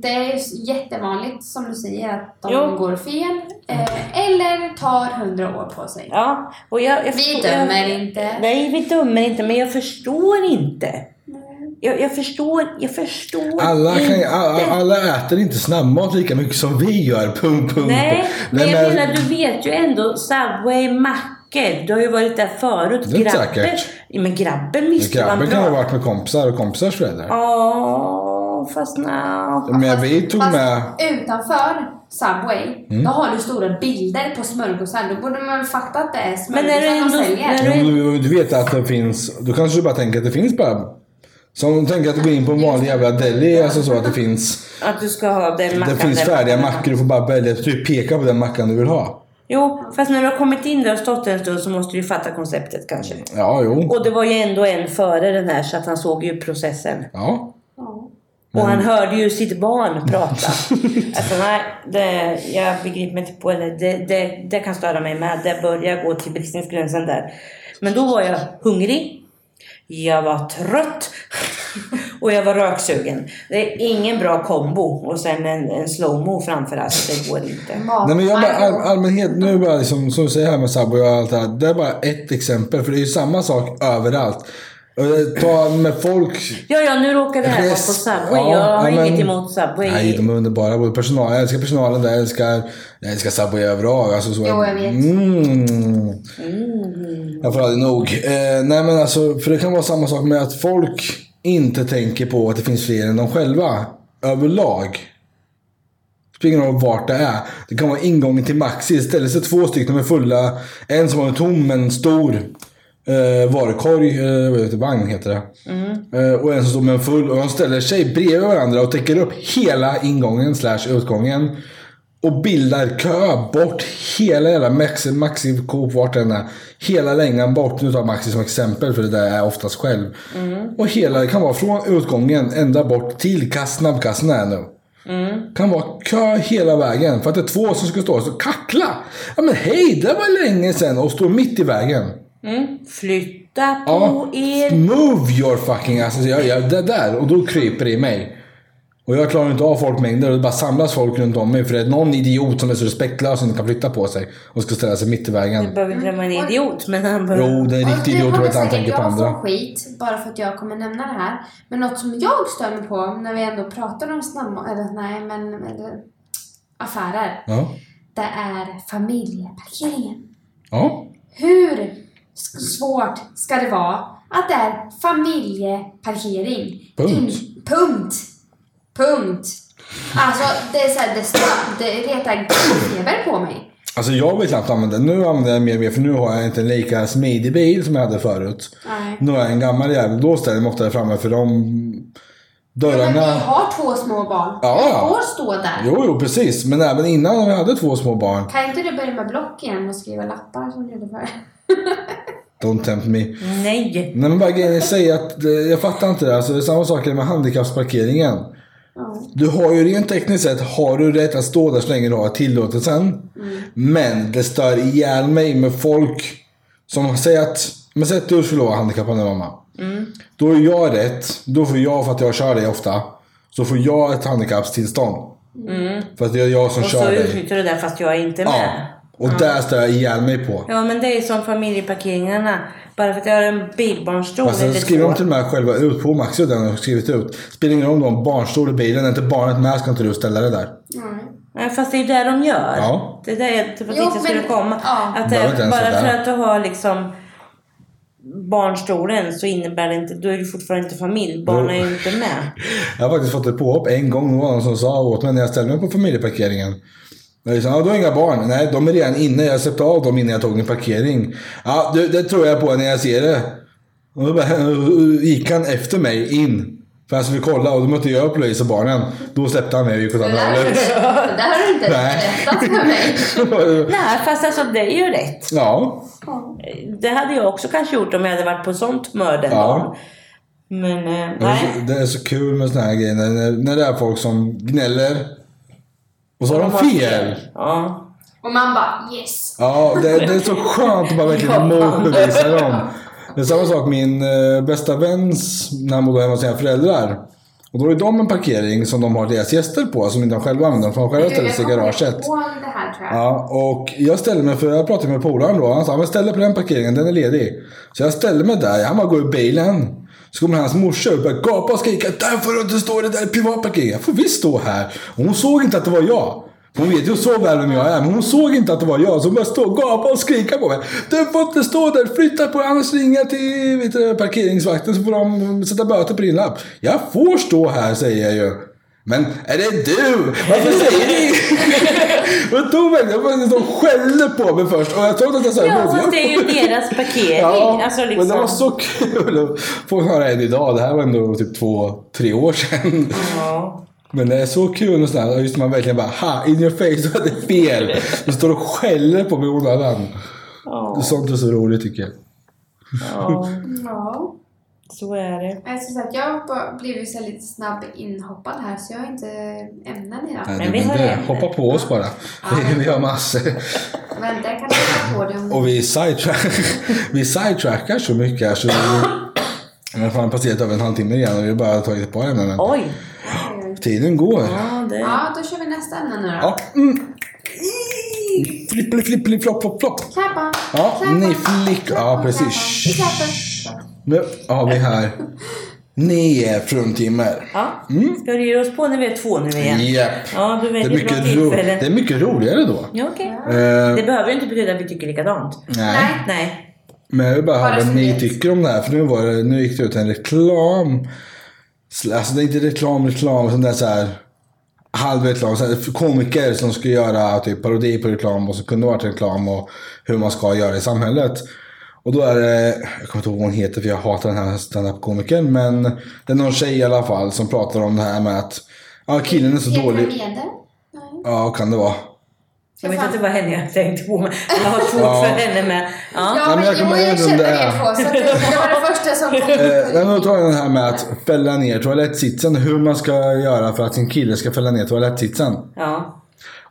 [SPEAKER 2] det är ju jättevanligt som du säger att de
[SPEAKER 1] Jo.
[SPEAKER 2] går fel. Eh, eller tar hundra år på sig.
[SPEAKER 1] Ja, och jag, jag
[SPEAKER 2] Vi
[SPEAKER 1] förstår-
[SPEAKER 2] dömer
[SPEAKER 1] jag,
[SPEAKER 2] inte.
[SPEAKER 1] Nej, vi dömer inte, men jag förstår inte. Jag, jag förstår, jag förstår
[SPEAKER 3] Alla, kan,
[SPEAKER 1] inte.
[SPEAKER 3] alla, alla äter inte snabbmat lika mycket som vi gör. Punkt, punkt.
[SPEAKER 1] Nej, men
[SPEAKER 3] Nej,
[SPEAKER 1] jag menar du vet ju ändå Subway, mackor. Du har ju varit där förut.
[SPEAKER 3] Det är inte säkert.
[SPEAKER 1] Ja, Men grabben visste vad han
[SPEAKER 3] Grabben kan ha
[SPEAKER 1] pratade
[SPEAKER 3] varit med kompisar och kompisars föräldrar.
[SPEAKER 1] Ja, fast nja.
[SPEAKER 3] Men vi tog
[SPEAKER 2] fast
[SPEAKER 3] med...
[SPEAKER 2] utanför Subway,
[SPEAKER 3] Mm.
[SPEAKER 2] då har du stora bilder på smörgåsar. Då borde man fatta att det är
[SPEAKER 1] Men är det
[SPEAKER 2] smörgåsar
[SPEAKER 1] ändå-
[SPEAKER 2] de säljer.
[SPEAKER 1] när
[SPEAKER 3] Jo, men du vet att det finns... Då kanske du bara tänker att det finns bara... Som tänker att du går in på en vanlig jävla deli. Alltså så att det finns,
[SPEAKER 1] Att du ska ha den mackan.
[SPEAKER 3] det finns
[SPEAKER 1] där.
[SPEAKER 3] färdiga mackor. Du får bara välja. Du pekar på den mackan du vill ha.
[SPEAKER 1] Jo, fast när du har kommit in där och stått en stund så måste du ju fatta konceptet kanske.
[SPEAKER 3] Ja, jo.
[SPEAKER 1] Och det var ju ändå en före den här så att han såg ju processen.
[SPEAKER 3] Ja.
[SPEAKER 2] Ja.
[SPEAKER 1] Och han hörde ju sitt barn prata. alltså nej, det, jag begriper mig inte på det. Det, det. det kan störa mig med. Det börjar gå till bristningsgränsen där. Men då var jag hungrig. Jag var trött. Och jag var röksugen. Det är ingen bra kombo. Och sen en, en slowmo framför allt. Det går inte.
[SPEAKER 2] Mat-
[SPEAKER 3] Nej, men jag bara, all,
[SPEAKER 2] Margot.
[SPEAKER 3] allmänhet, nu bara liksom, som du säger här med Subway och allt det här. Det är bara ett exempel. För det är ju samma sak överallt. Och det- Ta med folk
[SPEAKER 1] Ja, ja, nu råkar det här vara på
[SPEAKER 3] Rest-
[SPEAKER 1] Subway.
[SPEAKER 3] ja,
[SPEAKER 1] jag har
[SPEAKER 3] ja, men-
[SPEAKER 1] inget emot Subway.
[SPEAKER 3] Nej, de är underbara. Både personal, jag älskar personalen där. Jag älskar, jag älskar Subway överlag. Alltså, så
[SPEAKER 2] Jo, jag vet.
[SPEAKER 3] Mm. Jag får aldrig nog. Eh, nej, men alltså, för det kan vara samma sak med att folk inte tänker på att det finns fler än de själva. Överlag. Spelar ingen roll vart det är. Det kan vara ingången till Maxi. Istället så två stycken med fulla. En som har en tom men stor eh, varukorg. Eh, vad heter det? Vagn heter det. Eh, och en som står med en full. Och de ställer sig bredvid varandra och täcker upp hela ingången slash utgången. Och bildar kö bort hela jävla Maxi, Maxi Coop, vart den är. Hela längan bort. Nu tar jag Maxi som exempel för det där är jag oftast själv. Och hela, det kan vara från utgången ända bort till kass- snabbkassen är nu kan vara kö hela vägen för att det är två som ska stå och kackla. Ja men hej, det var länge sedan och stå mitt i vägen.
[SPEAKER 1] Mm. Flytta på
[SPEAKER 3] Ja.
[SPEAKER 1] er.
[SPEAKER 3] Move your fucking ass. Alltså, jag, jag, det där och då kryper det i mig. Och jag klarar inte av folkmängder och det bara samlas folk runt om mig för det är någon idiot som är så respektlös som inte kan flytta på sig och ska ställa sig mitt i
[SPEAKER 1] Du
[SPEAKER 3] vägen.
[SPEAKER 1] behöver inte vara en
[SPEAKER 2] Mm.
[SPEAKER 1] idiot, men han behöver...
[SPEAKER 3] Jo, det är en riktig
[SPEAKER 2] Och nu
[SPEAKER 3] idiot
[SPEAKER 2] kommer
[SPEAKER 3] att han
[SPEAKER 2] säkert
[SPEAKER 3] tänker på
[SPEAKER 2] jag
[SPEAKER 3] andra.
[SPEAKER 2] få skit bara för att jag kommer nämna det här. Men något som jag stör mig på när vi ändå pratar om snabb... Eller nej, men... Eller, affärer.
[SPEAKER 3] Ja.
[SPEAKER 2] Det är familjeparkeringen.
[SPEAKER 3] ja.
[SPEAKER 2] Hur sk- svårt ska det vara att det är familjeparkering?
[SPEAKER 3] Punkt.
[SPEAKER 2] In- punkt. Punkt. Alltså, det är så här, det, stör- det retar gubbfeber på mig.
[SPEAKER 3] Alltså jag vill knappt använda den. Nu använder jag den mer och mer för nu har jag inte en lika smidig bil som jag hade förut.
[SPEAKER 2] Nej.
[SPEAKER 3] Nu är jag en gammal jävel. Då ställer jag mig ofta framme för de
[SPEAKER 2] Men vi
[SPEAKER 3] dörrarna.
[SPEAKER 2] har två små barn.
[SPEAKER 3] Ja,
[SPEAKER 2] Vi
[SPEAKER 3] ja.
[SPEAKER 2] får stå där.
[SPEAKER 3] Jo, jo, precis. Men även innan när vi hade två små barn.
[SPEAKER 2] Kan inte du börja med block igen och skriva lappar som du gjorde förr?
[SPEAKER 3] Don't tempt me.
[SPEAKER 1] Nej.
[SPEAKER 3] Nej, men bara grejen är att säga att eh, jag fattar inte det. Alltså, det är samma sak med handikappsparkeringen.
[SPEAKER 2] Ja.
[SPEAKER 3] Du har ju rent tekniskt sett har du rätt att stå där så länge du har tillåtelsen. Men det stör ihjäl mig med folk som säger att, men säg att du skulle vara handikappad nu mamma. Då är jag rätt, då får jag för att jag kör dig ofta. Så får jag ett handikappstillstånd. För att det Mm. är jag som
[SPEAKER 1] Och så
[SPEAKER 3] kör dig.
[SPEAKER 1] utnyttjar du det fast jag är inte
[SPEAKER 3] Ja.
[SPEAKER 1] med.
[SPEAKER 3] Och där stör jag ihjäl mig på.
[SPEAKER 1] Ja, men det är som familjeparkeringarna. Bara för att jag har en bilbarnstol
[SPEAKER 3] Alltså,
[SPEAKER 1] eller
[SPEAKER 3] det skriver
[SPEAKER 1] två.
[SPEAKER 3] de till och med själva ut på Maxi och den har skrivit ut. Spelar ingen roll om du har en barnstol i bilen, är inte barnet med ska inte du ställa det där.
[SPEAKER 2] Nej.
[SPEAKER 1] Nej, fast det är ju det de gör.
[SPEAKER 3] Ja.
[SPEAKER 1] Det är där jag typ
[SPEAKER 2] Jo,
[SPEAKER 1] tänkte skulle
[SPEAKER 2] men-
[SPEAKER 1] komma.
[SPEAKER 2] ja.
[SPEAKER 1] Att
[SPEAKER 3] Behöver inte
[SPEAKER 1] det,
[SPEAKER 3] ens
[SPEAKER 1] bara
[SPEAKER 3] vara
[SPEAKER 1] för
[SPEAKER 3] där.
[SPEAKER 1] att du har liksom barnstolen så innebär det inte, då är du fortfarande inte familj. Barnen är ju inte med.
[SPEAKER 3] Jag har faktiskt fått ett påhopp en gång. Det var någon som sa åt mig när jag ställde mig på familjeparkeringen. Jag sa, ja, du har inga barn. Nej, de är redan inne. Jag släppte av dem innan jag tog en parkering. Ja, det, det tror jag på när jag ser det. Och då bara, gick han efter mig in. För han skulle kolla och då mötte jag upp Louise och barnen. Då släppte han mig och gick åt
[SPEAKER 2] Det
[SPEAKER 3] andra
[SPEAKER 2] där, har du-
[SPEAKER 3] hållet.
[SPEAKER 2] det där har du inte
[SPEAKER 3] Nej.
[SPEAKER 2] berättat för mig.
[SPEAKER 1] Nej, fast alltså det är ju rätt.
[SPEAKER 3] ja,
[SPEAKER 1] Det hade jag också kanske gjort om jag hade varit på sånt humör den
[SPEAKER 3] Ja.
[SPEAKER 1] dagen. Men eh,
[SPEAKER 3] det är, så,
[SPEAKER 1] nej.
[SPEAKER 3] det är så kul med såna här grejer. När, när det är folk som gnäller. Och så har de fel.
[SPEAKER 1] Ja.
[SPEAKER 2] Och man bara yes.
[SPEAKER 3] Ja, det, det är så skönt att man verkligen motbevisar dem. Det är samma sak min eh, bästa väns, när han bodde hemma hos sina föräldrar. Och då är de en parkering som de har deras gäster på, som inte de själva använder. De får själva ställa sig i garaget.
[SPEAKER 2] Jag kommer ihåg det här tror jag.
[SPEAKER 3] Ja, och jag ställde mig, för jag pratade med polaren då. Han sa, men ställ dig på den parkeringen, den är ledig. Så jag ställde mig där, han bara går ur bilen. Så kommer hans morsa upp och börjar gapa och skrika, där får du inte stå, det där är privat parkering. Jag får visst stå här. Och hon såg inte att det var jag. För Hon vet ju så väl vem jag är, men hon såg inte att det var jag. Så hon började stå och gapa och skrika på mig. Du får inte stå där, flytta på dig, annars ringer jag till vet du, parkeringsvakten så får de sätta böter på din lapp. Jag får stå här, säger jag ju. Men är det du? Varför säger du Jag tog verkligen, jag de skällde på mig först och jag trodde att jag sa
[SPEAKER 1] Ja,
[SPEAKER 3] emot.
[SPEAKER 1] fast det är ju deras parkering.
[SPEAKER 3] Ja,
[SPEAKER 1] alltså, liksom.
[SPEAKER 3] men det var så kul att få höra än idag. Det här var ändå typ två, tre år sedan.
[SPEAKER 1] Ja.
[SPEAKER 3] Men det är så kul och sådär. Just när man verkligen bara ha, in your face, du hade fel. Du står och skäller på mig i onödan.
[SPEAKER 1] Ja.
[SPEAKER 3] Sånt är så roligt tycker jag.
[SPEAKER 1] ja,
[SPEAKER 2] Ja.
[SPEAKER 1] så är det.
[SPEAKER 2] Jag ska säga att jag har bara blivit så här lite snabb inhoppad här så jag har inte ämnen idag.
[SPEAKER 3] Nej,
[SPEAKER 1] Men vi
[SPEAKER 3] men
[SPEAKER 1] har
[SPEAKER 3] det,
[SPEAKER 1] ämnen.
[SPEAKER 3] hoppa på oss bara. Vi har massor.
[SPEAKER 2] Men den kan du ta på dig om
[SPEAKER 3] Och vi, sidetrack, vi sidetrackar så mycket här så vi har fan passerat över en halvtimme igen och vi har bara tagit ett par ämnen. men
[SPEAKER 1] Oj!
[SPEAKER 3] Tiden går.
[SPEAKER 1] Ja, det...
[SPEAKER 2] Ja, då kör vi nästa ämne nu då.
[SPEAKER 3] Ja. Mm. Flipp, flipp, flipp, flipp, flopp, flopp, flopp.
[SPEAKER 2] Klappa!
[SPEAKER 3] Ja,
[SPEAKER 2] klappa,
[SPEAKER 3] ni flick... Ja,
[SPEAKER 2] klappa,
[SPEAKER 3] precis.
[SPEAKER 2] klappa. Vi klappar.
[SPEAKER 3] Nu har vi här nio fruntimmer.
[SPEAKER 1] Ja.
[SPEAKER 3] Mm.
[SPEAKER 1] Ska du ge oss på när vi är två nu igen?
[SPEAKER 3] Japp.
[SPEAKER 1] Ja, du
[SPEAKER 3] Det är,
[SPEAKER 1] väljer bra
[SPEAKER 3] mycket ro,
[SPEAKER 1] tillfälle.
[SPEAKER 3] det är mycket roligare då.
[SPEAKER 1] Ja, okej. Det
[SPEAKER 3] Eh,
[SPEAKER 1] behöver ju inte betyda att vi tycker likadant.
[SPEAKER 3] nej.
[SPEAKER 1] Nej.
[SPEAKER 3] Men jag vill bara höra
[SPEAKER 2] Bara
[SPEAKER 3] vad
[SPEAKER 2] som
[SPEAKER 3] ni
[SPEAKER 2] vet.
[SPEAKER 3] tycker om det här. För nu, var det, nu gick det ut en reklam. Sl- Alltså det är inte reklam, reklam. Utan det är så här halvreklam. Så här, komiker som ska göra typ parodi på reklam och som kunde varit reklam och hur man ska göra i samhället. Och då är det, jag kommer inte ihåg vad hon heter för jag hatar den här standup-komikern. Men det är någon tjej i alla fall som pratar om det här med att ja, killen är så
[SPEAKER 2] Petra
[SPEAKER 3] dålig.
[SPEAKER 2] Mede? Nej.
[SPEAKER 3] Ja, kan det vara.
[SPEAKER 1] Jag vet inte vad henne jag tänkte på, men jag har svårt för henne med. Ja.
[SPEAKER 3] men
[SPEAKER 2] Ja, men
[SPEAKER 3] jag
[SPEAKER 2] jag,
[SPEAKER 3] kommer
[SPEAKER 2] jo, jag
[SPEAKER 3] ihåg om
[SPEAKER 2] kände
[SPEAKER 3] det
[SPEAKER 2] er
[SPEAKER 3] är.
[SPEAKER 2] två så att det, det var det första som kom
[SPEAKER 3] Eh, Nej, men då tar jag den här med att fälla ner toalettsitsen. Hur man ska göra för att sin kille ska fälla ner toalettsitsen.
[SPEAKER 1] ja.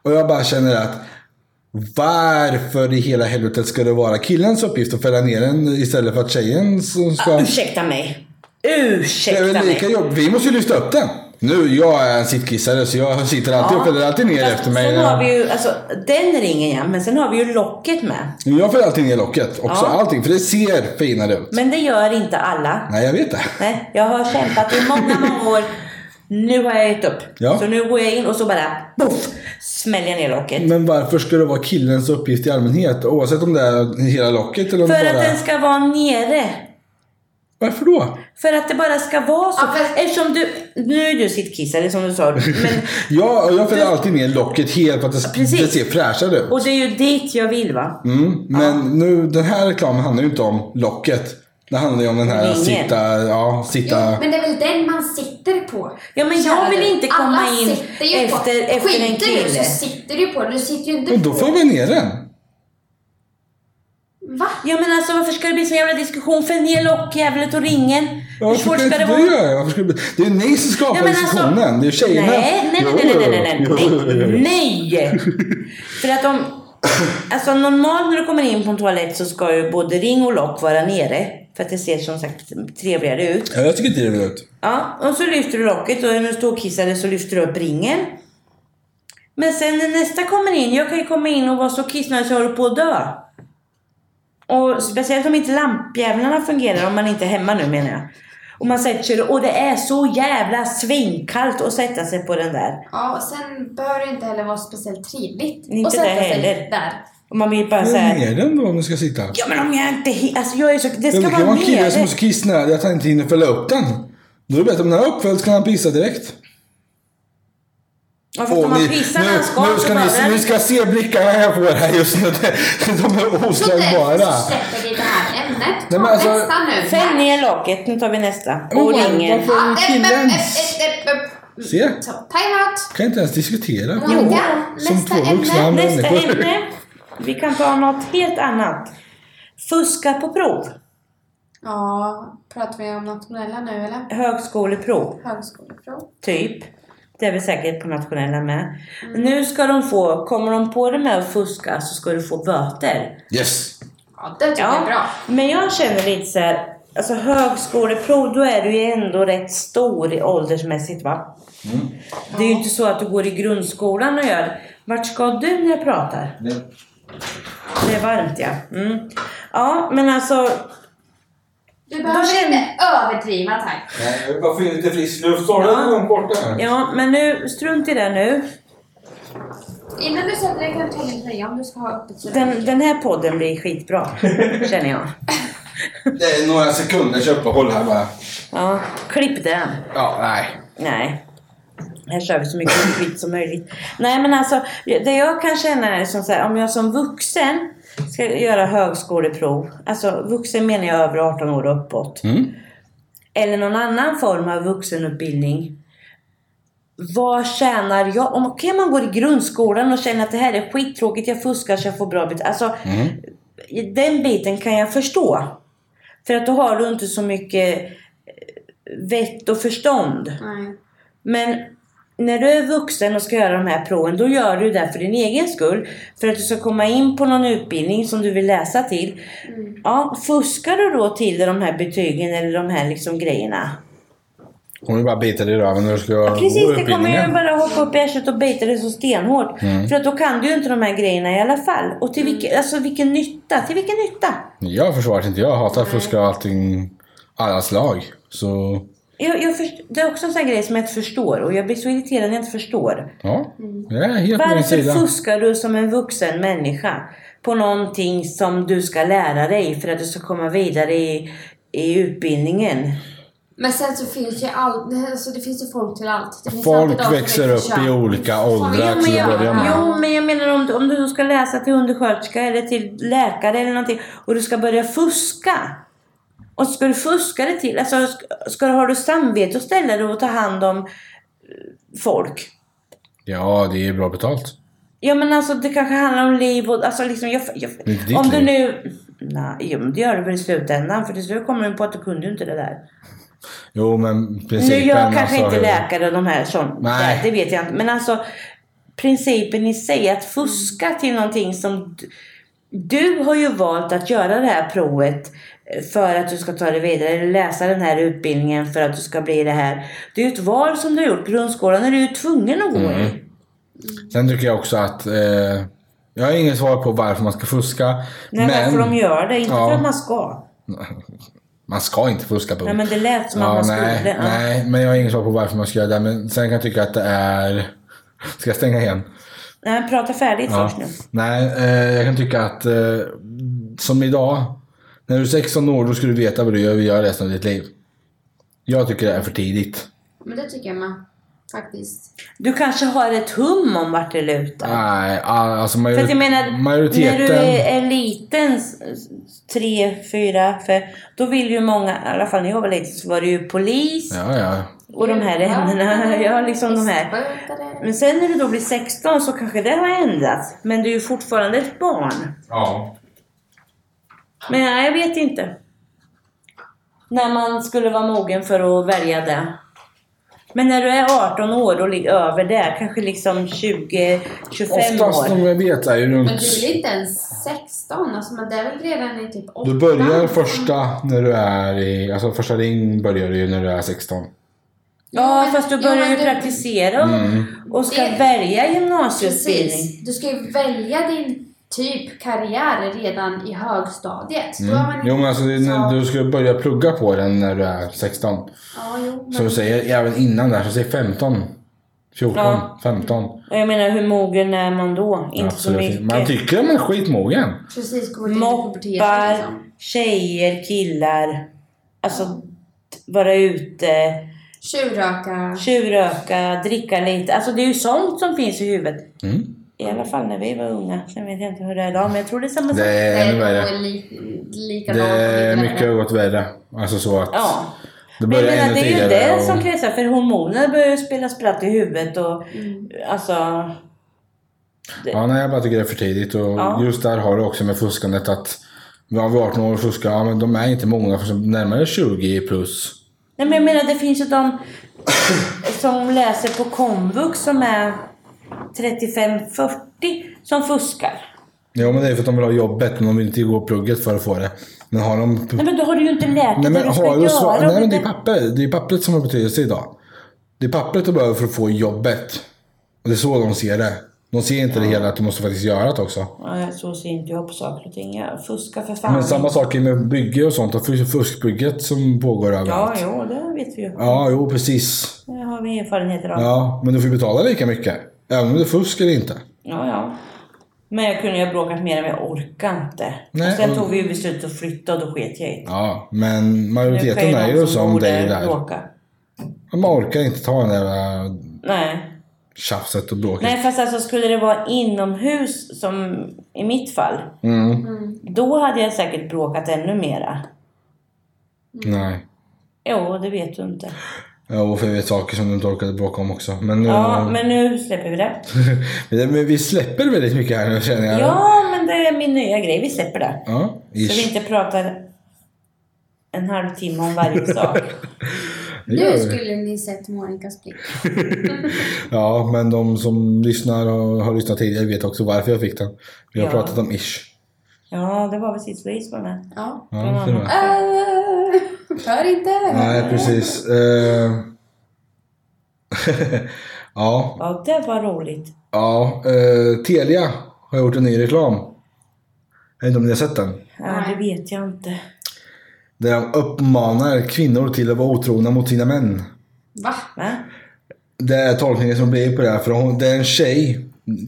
[SPEAKER 3] Och jag bara känner att varför i hela helvetet ska det vara killens uppgift att fälla ner den istället för att tjejen som ska...
[SPEAKER 1] Ah, Ursäkta mig.
[SPEAKER 3] Det är
[SPEAKER 1] Ursäkta
[SPEAKER 3] väl lika
[SPEAKER 1] mig.
[SPEAKER 3] jobb. Vi måste ju lyfta upp den. Nu, jag är en sittkissare så jag sitter alltid och fäller alltid ner
[SPEAKER 1] Fast
[SPEAKER 3] efter mig.
[SPEAKER 1] Sen har vi ju, alltså, den ringen ja, men sen har vi ju locket med.
[SPEAKER 3] Jag fäller alltid ner locket också.
[SPEAKER 1] Ja.
[SPEAKER 3] Allting. För det ser finare ut.
[SPEAKER 1] Men det gör inte alla.
[SPEAKER 3] Nej, jag vet det.
[SPEAKER 1] Nej, jag har kämpat i många, många år. Nu har jag gett upp.
[SPEAKER 3] Ja.
[SPEAKER 1] Så nu går jag in och så bara poff, smäller jag ner locket.
[SPEAKER 3] Men varför ska det vara killens uppgift i allmänhet? Oavsett om det är hela locket eller om
[SPEAKER 1] För
[SPEAKER 3] det bara...
[SPEAKER 1] att den ska vara nere.
[SPEAKER 3] Varför då?
[SPEAKER 1] För att det bara ska vara så.
[SPEAKER 2] Ja, fast-
[SPEAKER 1] Eftersom du, nu är du sittkissare som du sa. Men,
[SPEAKER 3] Ja, jag fäller alltid ner locket helt för att det,
[SPEAKER 1] Precis.
[SPEAKER 3] det ser fräschare ut.
[SPEAKER 1] och det är ju dit jag vill va?
[SPEAKER 3] Mm, men nu, den här reklamen handlar ju inte om locket. Det handlar ju om den här
[SPEAKER 1] Ringen.
[SPEAKER 3] sitta... Ja,
[SPEAKER 2] Jo,
[SPEAKER 3] sitta...
[SPEAKER 2] men det är väl den man sitter på?
[SPEAKER 1] Ja, men jag
[SPEAKER 2] Kära
[SPEAKER 1] vill
[SPEAKER 2] du.
[SPEAKER 1] inte komma
[SPEAKER 2] Alla
[SPEAKER 1] in
[SPEAKER 2] sitter ju
[SPEAKER 1] efter-
[SPEAKER 2] på.
[SPEAKER 1] efter en
[SPEAKER 2] Skiter du
[SPEAKER 1] kille.
[SPEAKER 2] så sitter du på den. Du sitter ju inte
[SPEAKER 3] Och då
[SPEAKER 2] på.
[SPEAKER 3] får vi ner den.
[SPEAKER 2] Va?
[SPEAKER 1] Ja men alltså varför ska det bli så jävla diskussion? För ner lockjävlet och ringen.
[SPEAKER 3] Ja, Varför ska inte du göra det? Varför ska det? Det är ju ni som skapar
[SPEAKER 1] Ja, men alltså-
[SPEAKER 3] diskussionen. Det är ju tjejerna.
[SPEAKER 1] Nej, nej, nej,
[SPEAKER 3] Jo,
[SPEAKER 1] nej, nej, nej,
[SPEAKER 3] jo, jo, jo, jo.
[SPEAKER 1] nej, nej. För att om, alltså normalt när du kommer in på en toalett så ska ju både ring och lock vara nere. För att det ser som sagt trevligare ut.
[SPEAKER 3] Ja, jag tycker inte det är roligt.
[SPEAKER 1] Ja, och så lyfter du locket och när du står och kissade så lyfter du upp ringen. Men sen när nästa kommer in, jag kan ju komma in och vara så kissnödig så jag håller på att dö. Och speciellt om inte lampjävlarna fungerar, om man inte är hemma nu menar jag. Och man sätter sig och det är så jävla svinkallt att sätta sig på den där.
[SPEAKER 2] Ja, och sen behöver det inte heller vara speciellt trevligt
[SPEAKER 1] Inte
[SPEAKER 2] att sätta
[SPEAKER 1] det
[SPEAKER 2] sig
[SPEAKER 1] heller.
[SPEAKER 2] där.
[SPEAKER 1] Och man blir bara
[SPEAKER 3] Fäll
[SPEAKER 1] såhär,
[SPEAKER 3] ner den då om du ska sitta.
[SPEAKER 1] ja men om jag inte hi- alltså jag är så, det
[SPEAKER 3] Men
[SPEAKER 1] ska
[SPEAKER 3] det kan
[SPEAKER 1] vara
[SPEAKER 3] vara en kille som är
[SPEAKER 1] nere.
[SPEAKER 3] så kissnödig att han inte hinner fälla upp den. Då är det bättre om den är uppfälld så kan han pissa direkt.
[SPEAKER 1] Ja, fast om man
[SPEAKER 3] ni-
[SPEAKER 1] pissar när
[SPEAKER 3] nu,
[SPEAKER 1] han ska,
[SPEAKER 3] nu,
[SPEAKER 1] så
[SPEAKER 3] ska
[SPEAKER 1] bara-
[SPEAKER 3] ni, ni ska se blickarna jag får här just nu. De är
[SPEAKER 2] Så därför
[SPEAKER 3] oslagbara.
[SPEAKER 2] så släpper vi det här ämnet.
[SPEAKER 3] men
[SPEAKER 2] Ta
[SPEAKER 3] alltså-
[SPEAKER 2] nästa nu.
[SPEAKER 1] Fäll ner locket, nu tar vi nästa.
[SPEAKER 3] Oh,
[SPEAKER 1] Och ringen.
[SPEAKER 3] varför-
[SPEAKER 2] Ja, äpp, äpp,
[SPEAKER 3] Killens.
[SPEAKER 2] äpp, äpp, äpp, äpp.
[SPEAKER 3] Se,
[SPEAKER 2] Så, time-out.
[SPEAKER 3] kan inte ens diskutera.
[SPEAKER 2] Monica,
[SPEAKER 3] Som
[SPEAKER 2] nästa
[SPEAKER 3] två vuxna
[SPEAKER 2] ämne.
[SPEAKER 1] Nästa
[SPEAKER 3] människor.
[SPEAKER 1] ämne. Vi kan ta något helt annat. Fuska på prov.
[SPEAKER 2] Ja, pratar vi om nationella nu eller?
[SPEAKER 1] Högskoleprov,
[SPEAKER 2] Högskoleprov.
[SPEAKER 1] typ. Det är vi säkert på nationella med.
[SPEAKER 2] Mm.
[SPEAKER 1] Nu ska de få, kommer de på det med att fuska så ska du få böter.
[SPEAKER 3] Yes.
[SPEAKER 2] Ja, det tycker jag är bra.
[SPEAKER 1] Men jag känner lite så här, Alltså högskoleprov, då är du ju ändå rätt stor i åldersmässigt va? Det är ju inte så att du går i grundskolan och gör. Vart ska du när jag pratar?
[SPEAKER 3] Det-
[SPEAKER 1] Det är varmt ja. Mm. Ja, men alltså.
[SPEAKER 2] Du behöver
[SPEAKER 1] känner-
[SPEAKER 2] inte överdriva tack.
[SPEAKER 4] Nej, jag vill bara få in lite frisk luft. Står det långt borta?
[SPEAKER 1] Ja, men nu, strunt i det nu.
[SPEAKER 2] Innan du sätter dig kan du ta din tröja om du ska ha öppet. så
[SPEAKER 1] Den, den här podden blir skitbra, känner jag.
[SPEAKER 3] Det är några sekunders uppehåll här bara.
[SPEAKER 1] Ja, klipp den.
[SPEAKER 3] Ja, nej.
[SPEAKER 1] Nej. Här kör vi så mycket skit som möjligt. Nej men alltså, det jag kan känna är som så här, om jag som vuxen ska göra högskoleprov. Alltså vuxen menar jag över 18 år och uppåt.
[SPEAKER 3] Mm.
[SPEAKER 1] Eller någon annan form av vuxenutbildning. Vad tjänar jag? Om okej, man går i grundskolan och känner att det här är skittråkigt, jag fuskar så jag får bra bet- Alltså, den biten kan jag förstå. För att då har du inte så mycket eh, vett och förstånd.
[SPEAKER 2] Nej.
[SPEAKER 1] Men när du är vuxen och ska göra de här proven, då gör du det för din egen skull. För att du ska komma in på någon utbildning som du vill läsa till. Ja, fuskar du då till de här betygen eller de här liksom grejerna?
[SPEAKER 3] Kommer du bara bita dig i röven när du ska ja,
[SPEAKER 1] Precis, det kommer ju bara hoppa upp i arslet och bita dig så stenhårt. För att då kan du ju inte de här grejerna i alla fall. Och till vilken, alltså, vilken nytta? Till vilken nytta?
[SPEAKER 3] Jag försvarar inte. Jag hatar fuska och allting. Alla slag. Så,
[SPEAKER 1] Jag, jag först, det är också en sån här grej som jag inte förstår. Och jag blir så irriterad när jag inte förstår.
[SPEAKER 3] ja. Jag är helt på din
[SPEAKER 1] Mm. Varför
[SPEAKER 3] sida.
[SPEAKER 1] fuskar du som en vuxen människa på någonting som du ska lära dig för att du ska komma vidare i, i utbildningen?
[SPEAKER 2] Men sen så finns ju allt, alltså det finns ju folk till allt. Det finns alltid de
[SPEAKER 3] Folk
[SPEAKER 2] som
[SPEAKER 3] växer upp i
[SPEAKER 2] kön.
[SPEAKER 3] olika
[SPEAKER 2] Ja,
[SPEAKER 3] åldrar
[SPEAKER 2] men
[SPEAKER 3] till
[SPEAKER 2] jag-
[SPEAKER 3] att börja med.
[SPEAKER 1] Jo, men jag menar om, du- om du ska läsa till undersköterska eller till läkare eller någonting och du ska börja fuska. Och ska du fuska det till, alltså ska, ska du, har du samvete att ställa dig och ta hand om eh, folk?
[SPEAKER 3] Ja, det är bra betalt.
[SPEAKER 1] Ja men alltså det kanske handlar om liv och alltså liksom jag, jag,
[SPEAKER 3] Det är inte ditt
[SPEAKER 1] Om du
[SPEAKER 3] liv.
[SPEAKER 1] nu... Nej, jo, men det gör det väl i slutändan för till slut kommer du på att du kunde ju inte det där.
[SPEAKER 3] Jo, men
[SPEAKER 1] Nu
[SPEAKER 3] principen
[SPEAKER 1] är jag kanske
[SPEAKER 3] alltså,
[SPEAKER 1] inte
[SPEAKER 3] hur-
[SPEAKER 1] läkare och de här sånt.
[SPEAKER 3] Nej.
[SPEAKER 1] Det, det vet jag inte. Men alltså principen i sig att fuska till någonting som... d- Du har ju valt att göra det här provet eh, för att du ska ta dig vidare eller läsa den här utbildningen för att du ska bli det här. Det är ju ett val som du har gjort. Grundskolan är du ju tvungen att gå
[SPEAKER 3] Mm.
[SPEAKER 1] i.
[SPEAKER 3] Sen tycker jag också att... Eh, jag har inget svar på varför man ska fuska.
[SPEAKER 1] Nej,
[SPEAKER 3] men
[SPEAKER 1] varför de gör det. Inte
[SPEAKER 3] Ja.
[SPEAKER 1] för att man ska.
[SPEAKER 3] man ska inte fuska på
[SPEAKER 1] Nej men det lät som att man
[SPEAKER 3] nej,
[SPEAKER 1] skulle. Ja.
[SPEAKER 3] nej, men jag har inget svar på varför man ska göra det. Men sen kan jag tycka att det är... Ska jag stänga igen?
[SPEAKER 1] Nej, prata färdigt först nu.
[SPEAKER 3] Nej, eh, jag kan tycka att eh, som idag. När du är 16 år då ska du veta vad du gör- vill göra resten av ditt liv. Jag tycker det är för tidigt.
[SPEAKER 2] Men det tycker jag med. Faktiskt.
[SPEAKER 1] Du kanske har ett hum om vart det lutar.
[SPEAKER 3] Nej, all- alltså
[SPEAKER 1] För att
[SPEAKER 3] majori-
[SPEAKER 1] jag menar,
[SPEAKER 3] majoriteten...
[SPEAKER 1] när du är, är liten, s- s- tre, fyra, fem, då vill ju många, i alla fall när jag var liten så var det ju polis
[SPEAKER 3] Ja, ja.
[SPEAKER 1] och de här ämnena. Ja, liksom de här.
[SPEAKER 2] Fiskbåtare.
[SPEAKER 1] Men sen när du då blir 16 så kanske det har ändrats. Men du är ju fortfarande ett barn.
[SPEAKER 4] Ja.
[SPEAKER 1] Men nej, jag vet inte. När man skulle vara mogen för att välja det. Men när du är 18 år och ligger över det, kanske liksom 20, 25
[SPEAKER 3] Oftast
[SPEAKER 1] år.
[SPEAKER 3] som jag vet är ju runt...
[SPEAKER 2] Men du är väl inte ens 16? Alltså men det är väl redan i typ 8?
[SPEAKER 3] Du börjar första när du är i... Alltså första ring börjar ju när du är 16.
[SPEAKER 1] Ja, fast du börjar
[SPEAKER 2] men
[SPEAKER 1] ju
[SPEAKER 2] du-
[SPEAKER 1] praktisera och,
[SPEAKER 3] Mm.
[SPEAKER 1] och ska
[SPEAKER 2] Det-
[SPEAKER 1] välja gymnasieutbildning.
[SPEAKER 2] Precis. Du ska ju välja din typ karriär redan i högstadiet. Då är man inte
[SPEAKER 3] Jo men alltså det är när
[SPEAKER 2] så-
[SPEAKER 3] du ska börja plugga på den när du är 16.
[SPEAKER 2] Ja, jo. Men...
[SPEAKER 3] Så du säger även innan där, så säg 15. 14,
[SPEAKER 1] Ja.
[SPEAKER 3] 15.
[SPEAKER 1] Och jag menar, hur mogen är man då? Inte så
[SPEAKER 3] Absolut.
[SPEAKER 1] mycket.
[SPEAKER 3] Man tycker man är skitmogen.
[SPEAKER 2] Precis, kommer till puberteten
[SPEAKER 1] Moppar,
[SPEAKER 2] liksom.
[SPEAKER 1] tjejer, killar. Alltså, t- vara ute,
[SPEAKER 2] Tjurröka.
[SPEAKER 1] tjurröka, dricka lite. Alltså det är ju sånt som finns i huvudet.
[SPEAKER 3] Mm.
[SPEAKER 1] I alla fall när vi var unga. Sen vet jag inte hur det är idag, men jag tror Alltså, det är samma
[SPEAKER 3] Det
[SPEAKER 1] sak.
[SPEAKER 3] är ännu värre. Det
[SPEAKER 2] Likadant.
[SPEAKER 3] är mycket något värre. Alltså så att
[SPEAKER 1] Ja.
[SPEAKER 3] det
[SPEAKER 1] Men jag
[SPEAKER 3] börjar
[SPEAKER 1] menar,
[SPEAKER 3] ännu
[SPEAKER 1] det är ju
[SPEAKER 3] tidigare.
[SPEAKER 1] det
[SPEAKER 3] Och,
[SPEAKER 1] som kretsar, för hormoner börjar ju spela spratt i huvudet och
[SPEAKER 3] Mm.
[SPEAKER 1] alltså...
[SPEAKER 3] ja, nej, jag bara tycker det är för tidigt. Och
[SPEAKER 1] Ja.
[SPEAKER 3] just där har du också med fuskandet att ja, vi 18 år och fuskar, ja, men de är inte många. För som närmare 20 plus.
[SPEAKER 1] Nej men jag menar det finns ju de som läser på komvux som är 35-40 som fuskar.
[SPEAKER 3] Jo, men det är för att de vill ha jobbet, men de vill inte gå plugget för att få det. Men har de...
[SPEAKER 1] Nej men då har du ju inte lärt dig
[SPEAKER 3] Nej, men
[SPEAKER 1] vad du ska
[SPEAKER 3] har du svar...
[SPEAKER 1] göra.
[SPEAKER 3] Nej, men det är
[SPEAKER 1] pappa.
[SPEAKER 3] papper. Det är pappret som har betydelse idag. Det är pappret du behöver för att få jobbet. Och det är så de ser det. De ser inte det hela att du måste faktiskt göra det också.
[SPEAKER 1] Nej, så ser inte jag på saker och ting. Jag fuskar för fan.
[SPEAKER 3] Men samma sak är med bygge och sånt. Och fus- fuskbygget som pågår
[SPEAKER 1] Ja,
[SPEAKER 3] överallt.
[SPEAKER 1] jo, det vet vi ju.
[SPEAKER 3] Ja, jo precis.
[SPEAKER 1] Det har vi erfarenheter av. Ja.
[SPEAKER 3] Ja, men du får ju betala lika mycket. Även om det är fusk eller inte.
[SPEAKER 1] ja, Men jag kunde ju ha bråkat mer, men jag orkar inte.
[SPEAKER 3] Nej,
[SPEAKER 1] och sen
[SPEAKER 3] och-
[SPEAKER 1] tog vi ju beslutet att flytta och då sket jag i det.
[SPEAKER 3] Ja, men
[SPEAKER 1] Nu kan
[SPEAKER 3] majoriteten är
[SPEAKER 1] de
[SPEAKER 3] ju
[SPEAKER 1] som
[SPEAKER 3] som
[SPEAKER 1] bor
[SPEAKER 3] dig där.
[SPEAKER 1] bråka.
[SPEAKER 3] Man orkar inte ta det där äh,
[SPEAKER 1] Nej.
[SPEAKER 3] tjafset och bråket.
[SPEAKER 1] Nej, fast alltså skulle det vara inomhus som i mitt fall.
[SPEAKER 3] Mm.
[SPEAKER 1] Då hade jag säkert bråkat ännu mera.
[SPEAKER 3] Nej.
[SPEAKER 1] Jo, det vet du inte.
[SPEAKER 3] Ja, och för jag vet saker som du inte orkade bråka om också. Men, nu,
[SPEAKER 1] Ja, men nu släpper vi det.
[SPEAKER 3] men... vi släpper väldigt mycket här nu känner jag.
[SPEAKER 1] Ja, men det är min nya grej. Vi släpper det.
[SPEAKER 3] Ja,
[SPEAKER 1] Så vi
[SPEAKER 3] ish.
[SPEAKER 1] inte pratar en halvtimme om varje sak.
[SPEAKER 3] Det gör
[SPEAKER 2] Nu
[SPEAKER 3] vi.
[SPEAKER 2] skulle ni sett Monikas blick.
[SPEAKER 3] Ja, men de som lyssnar och har lyssnat tidigare vet också varför jag fick den. Vi har
[SPEAKER 1] Ja.
[SPEAKER 3] pratat om ish.
[SPEAKER 1] Ja, det var precis Louise var med.
[SPEAKER 2] Ja.
[SPEAKER 3] Ja,
[SPEAKER 1] Mm.
[SPEAKER 3] det var.
[SPEAKER 2] Äh, hör inte!
[SPEAKER 3] Nej, precis. Eh. ja,
[SPEAKER 1] Ja, det var roligt.
[SPEAKER 3] Ja, eh, Telia har gjort en ny reklam. Jag vet inte om ni har sett den.
[SPEAKER 1] Ja, det vet jag inte.
[SPEAKER 3] Där de uppmanar kvinnor till att vara otrogna mot sina män.
[SPEAKER 2] Va?
[SPEAKER 1] Va?
[SPEAKER 3] Det är tolkningen som blir på det här. För hon, det är en tjej.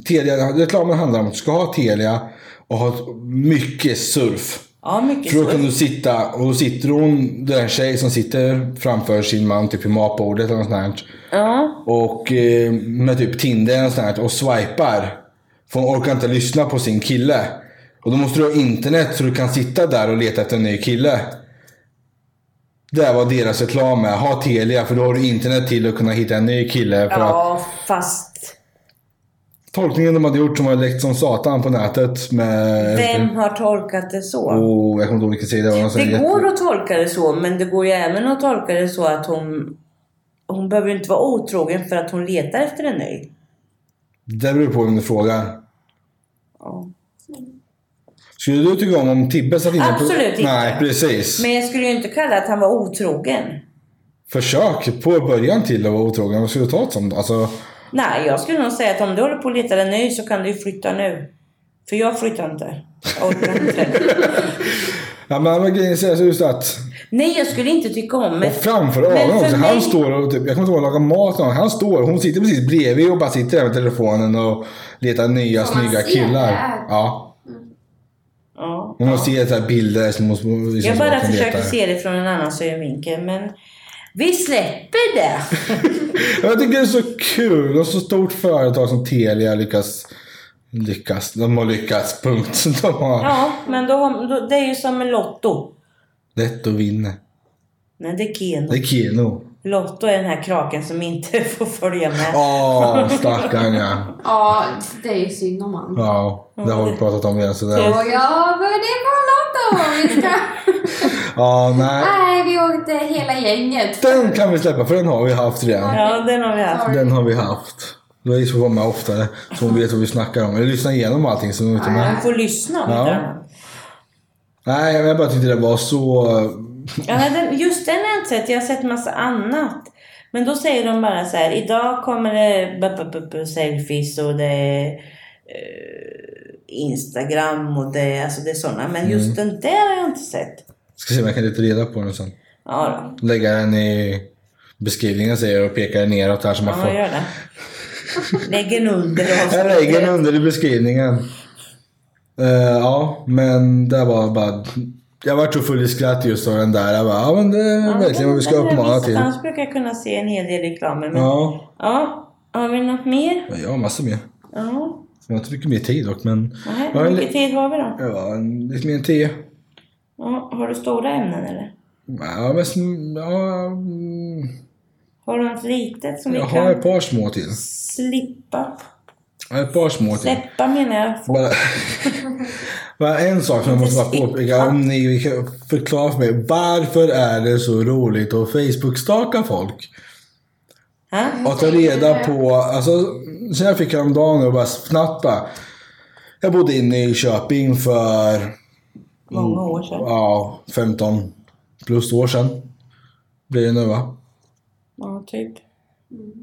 [SPEAKER 3] Telia, reklamen handlar om att du ska ha Telia och ha ett- mycket surf.
[SPEAKER 1] Ja, mycket
[SPEAKER 3] För då kan
[SPEAKER 1] så.
[SPEAKER 3] du sitta, och då sitter hon, det är en tjej som sitter framför sin man typ vid matbordet eller något sånt här.
[SPEAKER 1] Ja,
[SPEAKER 3] Och eh, med typ Tinder och sånt här och swipar. För hon orkar inte lyssna på sin kille. Och då måste du ha internet så du kan sitta där och leta efter en ny kille. Det var deras reklam med. Ha Telia för då har du internet till att kunna hitta en ny kille. För att
[SPEAKER 1] ja fast
[SPEAKER 3] tolkningen de hade gjort som var läckt som satan på nätet med...
[SPEAKER 1] vem har tolkat det så?
[SPEAKER 3] Oh, jag kommer inte ihåg vilken sida det var.
[SPEAKER 1] Det
[SPEAKER 3] Jätte-
[SPEAKER 1] går att tolka det så, men det går ju även att tolka det så att hon hon behöver ju inte vara otrogen för att hon letar efter en ny.
[SPEAKER 3] Det beror på vem du frågar.
[SPEAKER 1] Ja.
[SPEAKER 3] Skulle du tycka om om Tibbe satt inne på...
[SPEAKER 1] Absolut inte.
[SPEAKER 3] Nej, precis.
[SPEAKER 1] Men jag skulle ju inte kalla att han var otrogen.
[SPEAKER 3] Försök på början till att vara otrogen. Vad skulle du ta ett sånt? Alltså...
[SPEAKER 1] Nej, jag skulle nog säga att om du håller på och letar en ny så kan du ju flytta nu. För jag flyttar inte. Jag orkar inte.
[SPEAKER 3] Ja, men vad grejen är så just att...
[SPEAKER 1] Nej, jag skulle inte tycka om
[SPEAKER 3] Och framför ögonen
[SPEAKER 1] för
[SPEAKER 3] också.
[SPEAKER 1] mig-
[SPEAKER 3] Han står och typ, jag kommer inte ihåg att laga mat någon. Han står, hon sitter precis bredvid och bara sitter där med telefonen och letar nya
[SPEAKER 2] Får man
[SPEAKER 3] snygga
[SPEAKER 2] se det
[SPEAKER 3] killar.
[SPEAKER 2] här?
[SPEAKER 3] Ja.
[SPEAKER 1] Ja.
[SPEAKER 3] Och man ser så här bilder som hon liksom,
[SPEAKER 1] Jag bara
[SPEAKER 3] som hon
[SPEAKER 1] försöker
[SPEAKER 3] letar.
[SPEAKER 1] se det från en annan synvinkel, men vi släpper det.
[SPEAKER 3] Jag tycker det är så kul. Och så stort företag som Telia lyckas... Lyckas. De har lyckats. Punkt. De har
[SPEAKER 1] Ja, men då, då, det är ju som med Lotto.
[SPEAKER 3] lätt att vinna.
[SPEAKER 1] Nej, det är
[SPEAKER 3] Det
[SPEAKER 1] Keno.
[SPEAKER 3] är Keno.
[SPEAKER 1] Lotto är den här kraken som inte får följa med.
[SPEAKER 3] Åh, stackarn ja.
[SPEAKER 2] Ja, det är ju synd om han.
[SPEAKER 3] Ja, det har vi pratat om redan. Så det...
[SPEAKER 2] Och jag började på Lotto! Vi ska...
[SPEAKER 3] Ja, nej.
[SPEAKER 2] Nej, vi åkte hela gänget.
[SPEAKER 3] Den kan vi släppa för den har vi haft redan.
[SPEAKER 1] Ja, den har vi haft.
[SPEAKER 3] Den har vi haft. Louise får vara med oftare så hon vet vad vi snackar om. Eller lyssna igenom allting så hon är inte med.
[SPEAKER 1] Man får lyssna om
[SPEAKER 3] Ja.
[SPEAKER 1] inte annat.
[SPEAKER 3] Nej, men jag bara tyckte det var så...
[SPEAKER 1] Ja, men den, just den har jag inte sett. Jag har sett massa annat. Men då säger de bara så här. Idag kommer det b -b -b -b selfies och det är eh, Instagram och det, är- alltså det är sådana. Men just
[SPEAKER 3] Mm.
[SPEAKER 1] den där har jag inte sett.
[SPEAKER 3] Ska se om jag kan leta reda på den sen.
[SPEAKER 1] Ja, då.
[SPEAKER 3] Lägga den i beskrivningen säger jag och pekar neråt här så man
[SPEAKER 1] ja
[SPEAKER 3] får...
[SPEAKER 1] gör det. Lägg en under
[SPEAKER 3] Jag lägger den under i beskrivningen. Eh, ja, men det var bara... Jag var så full i skratt just av den där. Jag bara, ja men det är verkligen vad vi ska uppmana till.
[SPEAKER 1] Annars brukar jag kunna se en hel del reklamer. Men... Ja.
[SPEAKER 3] Ja,
[SPEAKER 1] Har vi något mer?
[SPEAKER 3] jag har massor mer.
[SPEAKER 1] Ja.
[SPEAKER 3] Jag har inte mycket mer tid dock men...
[SPEAKER 1] Nej,
[SPEAKER 3] Jag har
[SPEAKER 1] hur
[SPEAKER 3] en
[SPEAKER 1] mycket
[SPEAKER 3] li-
[SPEAKER 1] tid har vi då?
[SPEAKER 3] Ja, en- lite mer än tio.
[SPEAKER 1] Ja, har du stora ämnen eller?
[SPEAKER 3] Ja, men, sm- ja, mm,
[SPEAKER 1] Har du något litet som vi
[SPEAKER 3] jag
[SPEAKER 1] kan
[SPEAKER 3] har ett par små till.
[SPEAKER 1] slippa?
[SPEAKER 3] Jag har ett par små till.
[SPEAKER 1] Släppa menar jag.
[SPEAKER 3] Bara, bara en sak som jag måste bara påpeka. Om ni kan förklara för mig. Varför är det så roligt att Facebook-staka folk?
[SPEAKER 1] Ha? Mm.
[SPEAKER 3] Att ta reda på, alltså, så jag fick häromdagen och bara snabbt bara. Jag bodde inne i Köping för
[SPEAKER 1] Många år sedan.
[SPEAKER 3] ja, 15 plus år sedan. Blir det nu va?
[SPEAKER 1] Ja, typ.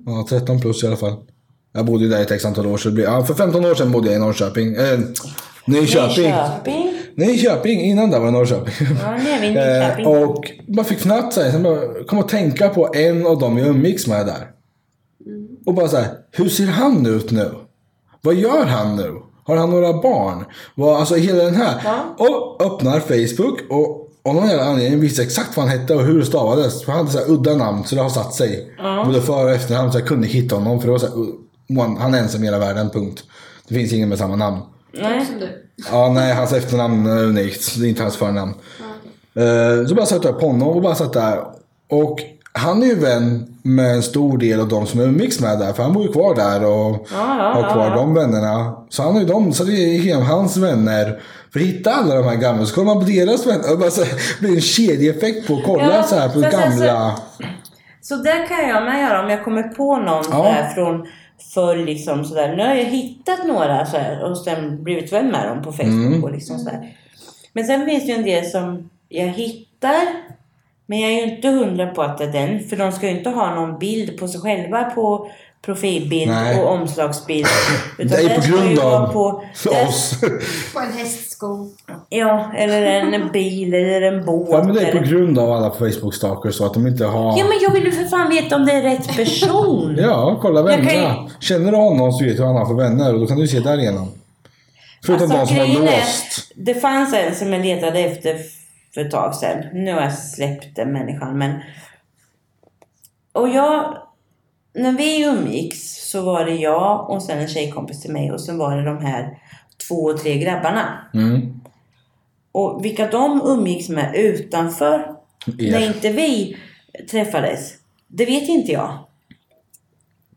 [SPEAKER 3] Ja, 13 plus i alla fall. Jag bodde ju där i ett x antal år. Så det blir, ja, för 15 år sedan bodde jag i Norrköping. Eh, Nyköping.
[SPEAKER 1] Nyköping.
[SPEAKER 3] Nyköping. Innan där var det Norrköping.
[SPEAKER 1] Ja, nu är vi i Nyköping.
[SPEAKER 3] Eh, och man fick knappt såhär, sen bara kom att tänka på en av dem jag umgicks med där. Och bara såhär, hur ser han ut nu? Vad gör han nu? Har han några barn? Vad, alltså hela den här. Och öppnar Facebook och av någon jävla anledning visste jag exakt vad han hette och hur det stavades. För han hade såhär udda namn så det har satt sig. Både före och efternamn så jag kunde hitta honom för det var såhär, uh, one- han är ensam i hela världen, punkt. Det finns ingen med samma namn.
[SPEAKER 1] Nej.
[SPEAKER 2] Som du.
[SPEAKER 3] Ja, nej, hans efternamn är unikt. Det är inte hans förnamn. Eh, Så bara satt jag på honom och bara satt där. Och han är ju vän med en stor del av de som jag umgicks med där. För han bor ju kvar där och
[SPEAKER 1] ja,
[SPEAKER 3] har kvar
[SPEAKER 1] ja, ja.
[SPEAKER 3] de vännerna. Så han är ju dem. Så vi gick igenom hans vänner. För att hitta alla de här gamla. Så kollar man på deras vänner. Och bara så, det blir en kedjeeffekt på att kolla
[SPEAKER 1] Ja, alltså,
[SPEAKER 3] så här på
[SPEAKER 1] så- så- så-
[SPEAKER 3] gamla.
[SPEAKER 1] Så där kan jag med göra om jag kommer på någon
[SPEAKER 3] Ja.
[SPEAKER 1] där från förr. Liksom, sådär. Nu har jag hittat några så här, och sen blivit vän med dem på Facebook.
[SPEAKER 3] Mm.
[SPEAKER 1] Och liksom, sådär. Men sen finns det ju en del som jag hittar. Men jag är ju inte hundra på att det är den. För de ska ju inte ha någon bild på sig själva på profilbild
[SPEAKER 3] Nej.
[SPEAKER 1] och omslagsbild.
[SPEAKER 3] Det är
[SPEAKER 1] den
[SPEAKER 3] på
[SPEAKER 1] ska ju
[SPEAKER 3] grund
[SPEAKER 1] vara
[SPEAKER 3] av
[SPEAKER 1] På,
[SPEAKER 3] oss.
[SPEAKER 2] På en hästsko.
[SPEAKER 1] ja, eller en bil eller en båt.
[SPEAKER 3] Ja, men det är
[SPEAKER 1] eller-
[SPEAKER 3] på grund av alla Facebook-stalkers. Så att de inte har...
[SPEAKER 1] Ja, men jag vill ju för fan veta om det är rätt person.
[SPEAKER 3] Ja, kolla
[SPEAKER 1] Jag kan
[SPEAKER 3] vännerna. Känner du honom så vet du vad han har för vänner och då kan du se därigenom. Förutom de som har
[SPEAKER 1] Alltså, grejen är,
[SPEAKER 3] låst.
[SPEAKER 1] Det fanns en som jag letade efter för ett tag sedan. Nu har jag släppt den människan. Men... Och jag... När vi umgicks så var det jag och sen en tjejkompis till mig och sen var det de här två, tre grabbarna.
[SPEAKER 3] Mm.
[SPEAKER 1] Och vilka de umgicks med utanför
[SPEAKER 3] Er.
[SPEAKER 1] när inte vi träffades, det vet inte jag.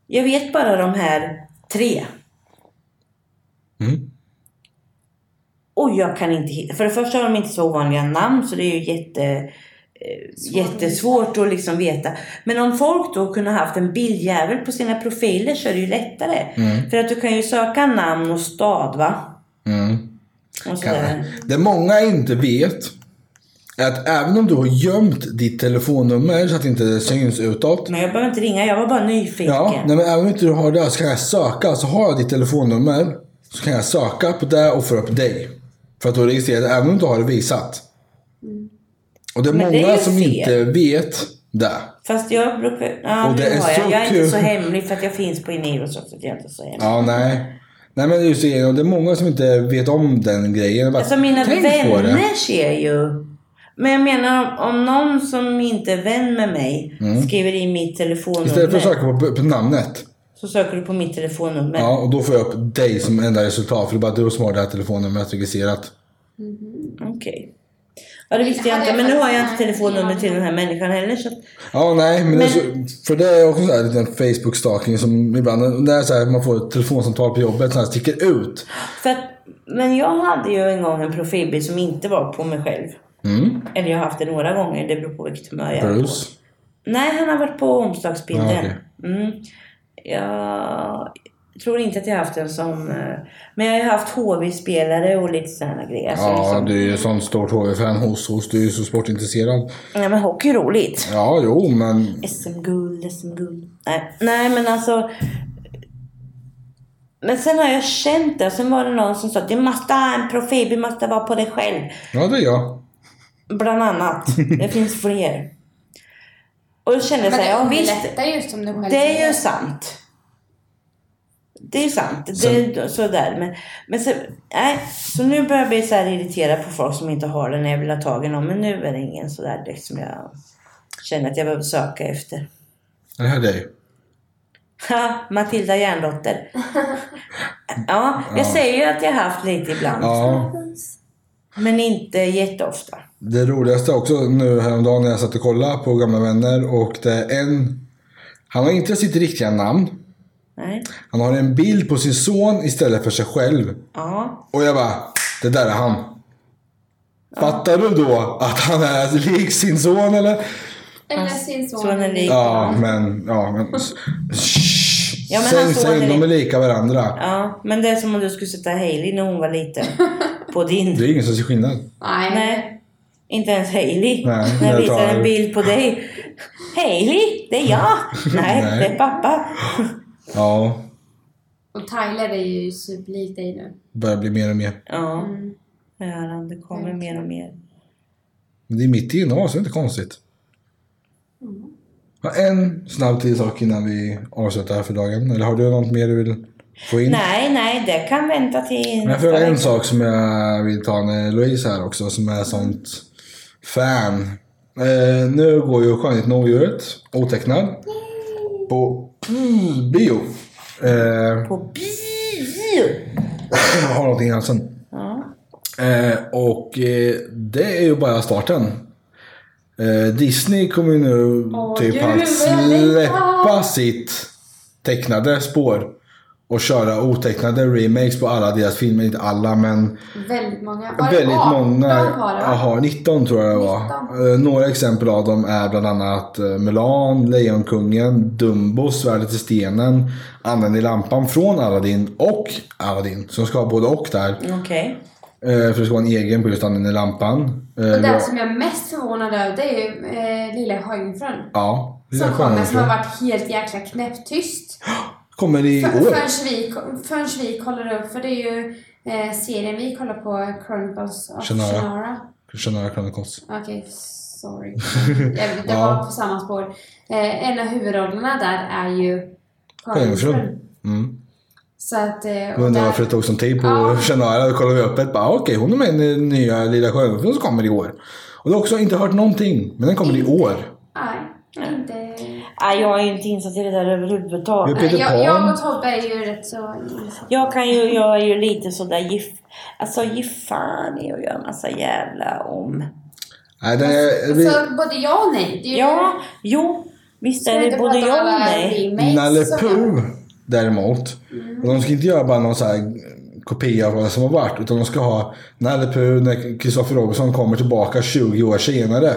[SPEAKER 1] Jag vet bara de här tre.
[SPEAKER 3] Mm.
[SPEAKER 1] Och jag kan inte hitta. För det första har de inte så ovanliga namn så det är ju jätte, eh, jättesvårt att liksom veta. Men om folk då kunde haft en bildjävel på sina profiler så är det ju lättare. För att du kan ju söka namn och stad va?
[SPEAKER 3] Mm.
[SPEAKER 1] Och
[SPEAKER 3] Kan-
[SPEAKER 1] sådär.
[SPEAKER 3] Det många inte vet är att även om du har gömt ditt telefonnummer så att det inte syns utåt.
[SPEAKER 1] Men jag behöver inte ringa, jag var bara nyfiken.
[SPEAKER 3] Ja, nej, men även om inte du har det så kan jag söka. Så har jag ditt telefonnummer så kan jag söka på det och få upp dig. För att du är registrerad även om du inte har det visat. Och det är
[SPEAKER 1] Mm. Men det är
[SPEAKER 3] många
[SPEAKER 1] ju
[SPEAKER 3] som
[SPEAKER 1] fel.
[SPEAKER 3] inte vet det.
[SPEAKER 1] Fast jag brukar... Ja,
[SPEAKER 3] Och det
[SPEAKER 1] nu
[SPEAKER 3] är
[SPEAKER 1] har
[SPEAKER 3] så
[SPEAKER 1] jag. jag är
[SPEAKER 3] kul.
[SPEAKER 1] inte så hemlig för att jag finns på Iniro så att jag är inte så hemlig.
[SPEAKER 3] Ja, nej. Nej men just det, och det är många som inte vet om den grejen. Bara,
[SPEAKER 1] Alltså mina
[SPEAKER 3] tänk på det.
[SPEAKER 1] vänner ser ju... Men jag menar om, om någon som inte är vän med mig skriver i mitt
[SPEAKER 3] Mm. Istället för
[SPEAKER 1] telefonnummer.
[SPEAKER 3] att söka på, på namnet.
[SPEAKER 1] Så söker du på mitt telefonnummer.
[SPEAKER 3] Ja, och då får jag upp dig som enda resultat. För det är bara du som har det här telefonnumret registrerat.
[SPEAKER 1] Okej. Ja det visste jag inte. Men nu har jag inte telefonnummer till den här människan heller. Så... att-
[SPEAKER 3] Ja, nej, men, Det är
[SPEAKER 1] Men-
[SPEAKER 3] så, för det är också så här liten Facebook-stalking som ibland, när så här, man får ett telefonsamtal på jobbet som sticker ut.
[SPEAKER 1] För att, men jag hade ju en gång en profilbild som inte var på mig själv.
[SPEAKER 3] Mm,
[SPEAKER 1] Eller jag har haft det några gånger. Det beror på vilket humör jag är på.
[SPEAKER 3] Bruce.
[SPEAKER 1] Nej, han har varit på omslagsbilden.
[SPEAKER 3] Ja, Ah, okej.
[SPEAKER 1] mm. Jag tror inte att jag har haft en sån. eh, Men jag har ju haft HV-spelare och lite sådana grejer. Så
[SPEAKER 3] Ja,
[SPEAKER 1] liksom,
[SPEAKER 3] du är ju sån stort HV-fan hos hos. Du är ju så sportintresserad.
[SPEAKER 1] Nej, men hockey är roligt.
[SPEAKER 3] Ja, jo, men...
[SPEAKER 1] SM-guld, SM-guld. Nej, nej, men alltså. Men sen har jag känt det. Sen var det någon som sa att du måste ha en profil. Du måste vara på dig själv.
[SPEAKER 3] Ja, det är jag.
[SPEAKER 1] Bland annat. Det finns fler. Och då kände jag
[SPEAKER 2] Men
[SPEAKER 1] så här, ja
[SPEAKER 2] det
[SPEAKER 1] visst.
[SPEAKER 2] underlättar ju som du själv
[SPEAKER 1] Det är
[SPEAKER 2] säger.
[SPEAKER 1] ju sant. Det är sant. Det
[SPEAKER 3] Sen-
[SPEAKER 1] är sådär. Men, men så, nej, så nu börjar jag bli så här irriterad på folk som inte har den. när Jag vill ha tag i någon. Men nu är det ingen sådär direkt som jag känner att jag behöver söka efter.
[SPEAKER 3] Det här är dig.
[SPEAKER 1] Ha, Matilda Järndotter. Ja, jag säger ju att jag har haft lite ibland.
[SPEAKER 3] Ja,
[SPEAKER 1] Men inte jätteofta.
[SPEAKER 3] Det roligaste också nu häromdagen när jag satt och kollade på gamla vänner och det är en... Han har inte sitt riktiga namn.
[SPEAKER 1] Nej.
[SPEAKER 3] Han har en bild på sin son istället för sig själv.
[SPEAKER 1] Ja.
[SPEAKER 3] Och jag bara, det där är han. Fattar du då att han är lik sin son eller?
[SPEAKER 2] Eller sin son.
[SPEAKER 1] Sonen är lik.
[SPEAKER 3] Ja, men... Ja, men... Shh.
[SPEAKER 1] Ja, men han
[SPEAKER 3] Säng,
[SPEAKER 1] står
[SPEAKER 3] säng,
[SPEAKER 1] under
[SPEAKER 3] de är
[SPEAKER 1] din...
[SPEAKER 3] lika varandra.
[SPEAKER 1] Ja, men det är som om du skulle sätta Hailey när hon var liten. På
[SPEAKER 3] Det
[SPEAKER 1] din.
[SPEAKER 3] är ingen som ser skillnad.
[SPEAKER 2] Nej.
[SPEAKER 1] Nej, inte ens Hailey.
[SPEAKER 3] Nej,
[SPEAKER 1] När jag
[SPEAKER 3] jag
[SPEAKER 1] visar
[SPEAKER 3] tar-
[SPEAKER 1] en bild på dig. Hailey, det är jag! Nej,
[SPEAKER 3] Nej.
[SPEAKER 1] det är pappa.
[SPEAKER 3] Ja,
[SPEAKER 2] Och Tyler är ju superlik dig nu.
[SPEAKER 3] börjar bli mer och mer.
[SPEAKER 1] Ja,
[SPEAKER 2] Mm.
[SPEAKER 1] Göran, det kommer mer och mer.
[SPEAKER 3] Men det är mitt i innehav så det är inte konstigt. Ja, En snabb till sak innan vi avslutar här för dagen. Eller har du något mer du vill få in?
[SPEAKER 1] Nej, nej, det kan vänta till
[SPEAKER 3] Men jag
[SPEAKER 1] nästa
[SPEAKER 3] frågar en
[SPEAKER 1] vecka.
[SPEAKER 3] sak som jag vill ta med Louise här också som är sånt fan. Eh, nu går ju Skönhet och odjuret, otecknad, på mm, bio. Eh,
[SPEAKER 1] På bio!
[SPEAKER 3] har någonting i halsen.
[SPEAKER 1] Ja.
[SPEAKER 3] Eh, och eh, det är ju bara starten. Eh, Disney kommer ju nu
[SPEAKER 2] Åh,
[SPEAKER 3] typ
[SPEAKER 2] gud,
[SPEAKER 3] att
[SPEAKER 2] vad jag längtar!
[SPEAKER 3] släppa sitt tecknade spår och köra otecknade remakes på alla deras filmer. Inte alla men
[SPEAKER 2] Väldigt många. Var det
[SPEAKER 3] väldigt
[SPEAKER 2] 18
[SPEAKER 3] många.
[SPEAKER 2] var det va?
[SPEAKER 3] Jaha, 19 tror jag det var.
[SPEAKER 2] 19.
[SPEAKER 3] Eh, några exempel av dem är bland annat eh, Mulan, Lejonkungen, Dumbo, Svärdet i stenen, Anden i lampan från Aladdin och Aladdin. Så de ska ha både och där.
[SPEAKER 1] Okej.
[SPEAKER 3] Eh, för det ska vara en egen på just Anden i lampan. Eh,
[SPEAKER 2] Och
[SPEAKER 3] vi har-
[SPEAKER 2] den som jag är mest förvånad över det är ju eh, Lilla Sjöjungfrun.
[SPEAKER 3] Ja. det är
[SPEAKER 2] Som
[SPEAKER 3] skönt.
[SPEAKER 2] kommer som har varit helt jäkla knäpptyst.
[SPEAKER 3] Kommer i
[SPEAKER 2] För-
[SPEAKER 3] år.
[SPEAKER 2] Förrän vi, förrän vi kollar upp, för det är ju eh, serien vi kollar på, Chronicles of
[SPEAKER 3] Shannara.
[SPEAKER 2] Shannara.
[SPEAKER 3] Shannara Chronicles.
[SPEAKER 2] Okej, sorry. Jag vet, det
[SPEAKER 3] Ja.
[SPEAKER 2] var på samma spår. Eh, en av huvudrollerna där är ju
[SPEAKER 3] Sjöjungfrun.
[SPEAKER 2] Sjöjungfrun.
[SPEAKER 3] Mm.
[SPEAKER 2] Så att... Eh, och
[SPEAKER 3] Undrar
[SPEAKER 2] där-
[SPEAKER 3] varför det tog sån tid på
[SPEAKER 2] Ja.
[SPEAKER 3] Shannara. Då kollade vi upp ett. bara, Okej, hon är med i den nya Lilla Sjöjungfrun som kommer i år. Och du har också inte hört någonting. Men den kommer i år.
[SPEAKER 2] Nej, inte...
[SPEAKER 1] Nej, jag är ju inte insatt i det där
[SPEAKER 3] Vi har
[SPEAKER 1] överhuvudtaget.
[SPEAKER 3] Peter
[SPEAKER 2] Jag, jag
[SPEAKER 3] Pan.
[SPEAKER 2] och Tobbe är ju rätt så...
[SPEAKER 1] Jag kan ju, jag är ju lite sådär giff... Alltså ge fan i att göra massa jävla om.
[SPEAKER 3] Nej, det är... Vi,
[SPEAKER 2] Alltså, både ja och nej. Det är ju-
[SPEAKER 1] Ja, jo. Visst
[SPEAKER 2] Ska vi
[SPEAKER 1] är det
[SPEAKER 2] inte
[SPEAKER 1] både
[SPEAKER 2] prata om
[SPEAKER 1] jag och
[SPEAKER 2] alla
[SPEAKER 1] nej.
[SPEAKER 2] remakes
[SPEAKER 3] Nalle
[SPEAKER 2] som-
[SPEAKER 3] Puh däremot. Och de ska inte göra bara någon så här kopia av vad som har varit. Utan de ska ha Nalle Puh när Kristoffer Robinson kommer tillbaka 20 år senare.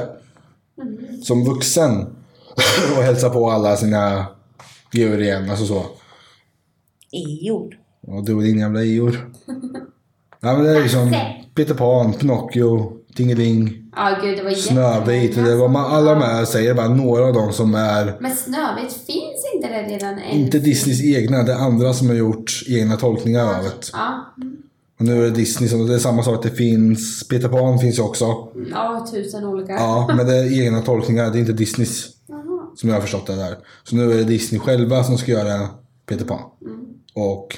[SPEAKER 3] Som vuxen. Och hälsar på alla sina djur igen. Alltså så.
[SPEAKER 1] Ior.
[SPEAKER 3] Och du och din jävla Ior. Ja men det är liksom Peter Pan, Pinocchio, Tingeling,
[SPEAKER 2] Ja, gud, det var
[SPEAKER 3] Snövit.
[SPEAKER 2] jättemånga
[SPEAKER 3] Det var man, alla
[SPEAKER 2] som-
[SPEAKER 3] de här säger bara några av dem som är
[SPEAKER 2] Men Snövit finns inte det redan än?
[SPEAKER 3] inte Disneys egna. Det är andra som har gjort egna tolkningar av det.
[SPEAKER 2] Ja,
[SPEAKER 3] Och nu är det Disney som, det är samma sak, det finns, Peter Pan finns ju också.
[SPEAKER 2] ja tusen olika.
[SPEAKER 3] Ja, men det är egna tolkningar, det är inte Disneys.
[SPEAKER 2] Jaha.
[SPEAKER 3] Som jag har förstått det där. Så nu är det Disney själva som ska göra Peter Pan. Och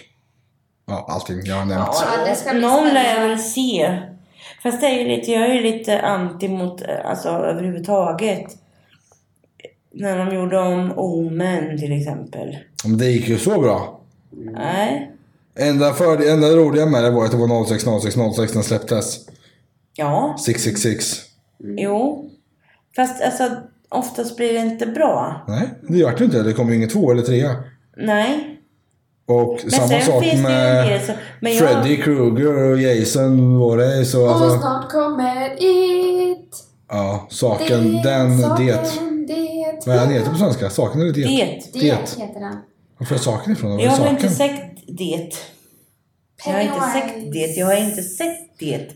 [SPEAKER 3] ja, allting jag har nämnt.
[SPEAKER 2] Ja, det ska bli
[SPEAKER 1] Någon lär jag
[SPEAKER 2] spännande.
[SPEAKER 1] väl se. Fast det är ju lite, jag är ju lite anti mot, eh, alltså överhuvudtaget. När de gjorde om Omen till exempel.
[SPEAKER 3] Men det gick ju så bra. Mm.
[SPEAKER 1] Nej.
[SPEAKER 3] Enda, för, enda roliga med det var att det var 06 06 06 när det släpptes.
[SPEAKER 1] Ja,
[SPEAKER 3] 666. Mm.
[SPEAKER 1] jo. Fast alltså oftast blir det inte bra.
[SPEAKER 3] Nej, det vart ju inte det. Det kom ju ingen två eller trea.
[SPEAKER 1] Nej.
[SPEAKER 3] Och samma
[SPEAKER 1] sen
[SPEAKER 3] sak
[SPEAKER 1] finns det ju en
[SPEAKER 3] med
[SPEAKER 1] del som- men jag-
[SPEAKER 3] Freddy Krueger och Jason var det. Så
[SPEAKER 2] Och
[SPEAKER 3] alltså,
[SPEAKER 2] snart kommer it.
[SPEAKER 3] ja, saken, den, det.
[SPEAKER 2] saken, det.
[SPEAKER 3] Vad är han heter på svenska? Saken eller det?
[SPEAKER 1] Det.
[SPEAKER 2] Det
[SPEAKER 3] Det.
[SPEAKER 2] heter den.
[SPEAKER 3] Var får jag saken ifrån? Var
[SPEAKER 1] Jag
[SPEAKER 3] är
[SPEAKER 1] har
[SPEAKER 3] saken?
[SPEAKER 1] inte sett det. Jag har inte sett det. Jag har inte sett det.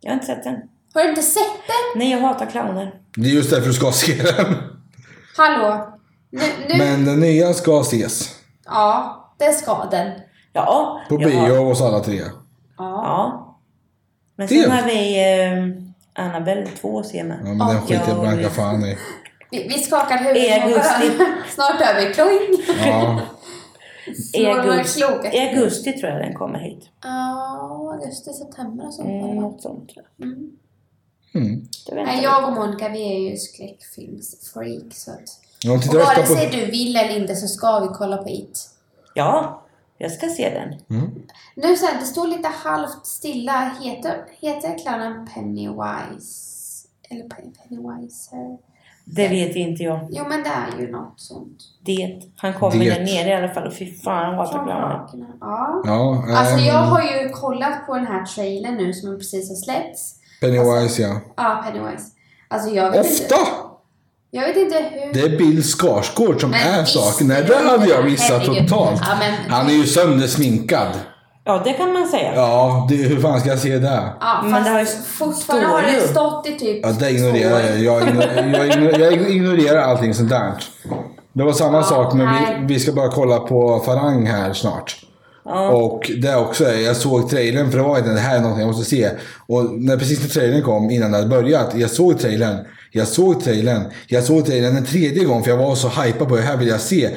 [SPEAKER 1] Jag har inte sett den.
[SPEAKER 2] Har du inte sett den?
[SPEAKER 1] Nej, jag hatar clowner.
[SPEAKER 3] Det är just därför du ska se den.
[SPEAKER 2] Hallå? Nu, nu.
[SPEAKER 3] Men den nya ska ses.
[SPEAKER 2] Ja, det ska den.
[SPEAKER 1] Ja.
[SPEAKER 3] På
[SPEAKER 1] jag har-
[SPEAKER 3] bio hos alla tre.
[SPEAKER 2] Ja.
[SPEAKER 1] Ja. Men
[SPEAKER 3] Det.
[SPEAKER 1] sen har vi eh, Annabelle 2 att se med.
[SPEAKER 3] Ja, men den
[SPEAKER 2] Och
[SPEAKER 3] skiter
[SPEAKER 1] jag-
[SPEAKER 3] Blanka fan i.
[SPEAKER 2] Vi, vi skakar huvudet.
[SPEAKER 1] I augusti.
[SPEAKER 2] på varandra. Snart är vi kloing.
[SPEAKER 3] Ja.
[SPEAKER 1] I
[SPEAKER 2] Slår några
[SPEAKER 1] augusti,
[SPEAKER 2] klok.
[SPEAKER 1] I augusti tror jag den kommer hit.
[SPEAKER 2] Ja, augusti, september och sånt.
[SPEAKER 1] Mm,
[SPEAKER 2] Mm.
[SPEAKER 1] något sånt. tror jag.
[SPEAKER 2] Mm.
[SPEAKER 3] Mm.
[SPEAKER 1] Det väntar
[SPEAKER 2] Nej,
[SPEAKER 1] vi.
[SPEAKER 2] jag och Monica vi är ju skräckfilmsfreak. Så att...
[SPEAKER 3] De
[SPEAKER 2] Och
[SPEAKER 3] tittar
[SPEAKER 2] vare
[SPEAKER 3] ofta på...
[SPEAKER 2] sig du vill eller inte så ska vi kolla på it.
[SPEAKER 1] Ja, jag ska se den.
[SPEAKER 2] Nu så här, det står lite halvt stilla. Heter, heter clownen Pennywise? Eller Pen- Pennywise? här?
[SPEAKER 1] Det
[SPEAKER 2] Mm.
[SPEAKER 1] vet inte jag.
[SPEAKER 2] Jo men det är ju något sånt.
[SPEAKER 1] Det. Han kommer
[SPEAKER 3] Det.
[SPEAKER 1] där nere i alla fall. Och fy fan vad jag glad
[SPEAKER 2] Ja.
[SPEAKER 3] Ja, eh,
[SPEAKER 2] Alltså jag har ju kollat på den här trailern nu som precis har släppts.
[SPEAKER 3] Pennywise ja.
[SPEAKER 2] Ja, Pennywise. Alltså jag vet inte.
[SPEAKER 3] Ofta!
[SPEAKER 2] Jag vet inte hur...
[SPEAKER 3] Det är Bill Skarsgård som
[SPEAKER 2] Men
[SPEAKER 3] är
[SPEAKER 2] visst,
[SPEAKER 3] saken. Nej, det hade jag missat
[SPEAKER 2] herregud.
[SPEAKER 3] totalt.
[SPEAKER 2] Ja, men-
[SPEAKER 3] Han är ju söndersminkad.
[SPEAKER 1] Ja, det kan man säga.
[SPEAKER 3] Ja, det, hur fan ska jag se det?
[SPEAKER 2] Ja,
[SPEAKER 1] Men
[SPEAKER 2] fast
[SPEAKER 1] det har ju-
[SPEAKER 2] fortfarande
[SPEAKER 1] står
[SPEAKER 2] har
[SPEAKER 1] ju.
[SPEAKER 2] det stått i typ
[SPEAKER 3] Ja, det
[SPEAKER 2] två
[SPEAKER 3] ignorerar
[SPEAKER 2] år.
[SPEAKER 3] jag. Jag, ignorerar, jag, ignorerar, jag ignorerar allting sånt där. Det var samma
[SPEAKER 2] Ja,
[SPEAKER 3] sak, men
[SPEAKER 2] nej.
[SPEAKER 3] vi, vi ska bara kolla på Farang här snart. Och det också, är- jag såg trailern för det var inte det här är någonting jag måste se. Och när, precis när trailern kom, innan det hade börjat, jag såg trailern. Jag såg trailern. Jag såg trailern en tredje gång för jag var så hypad på det här vill jag se.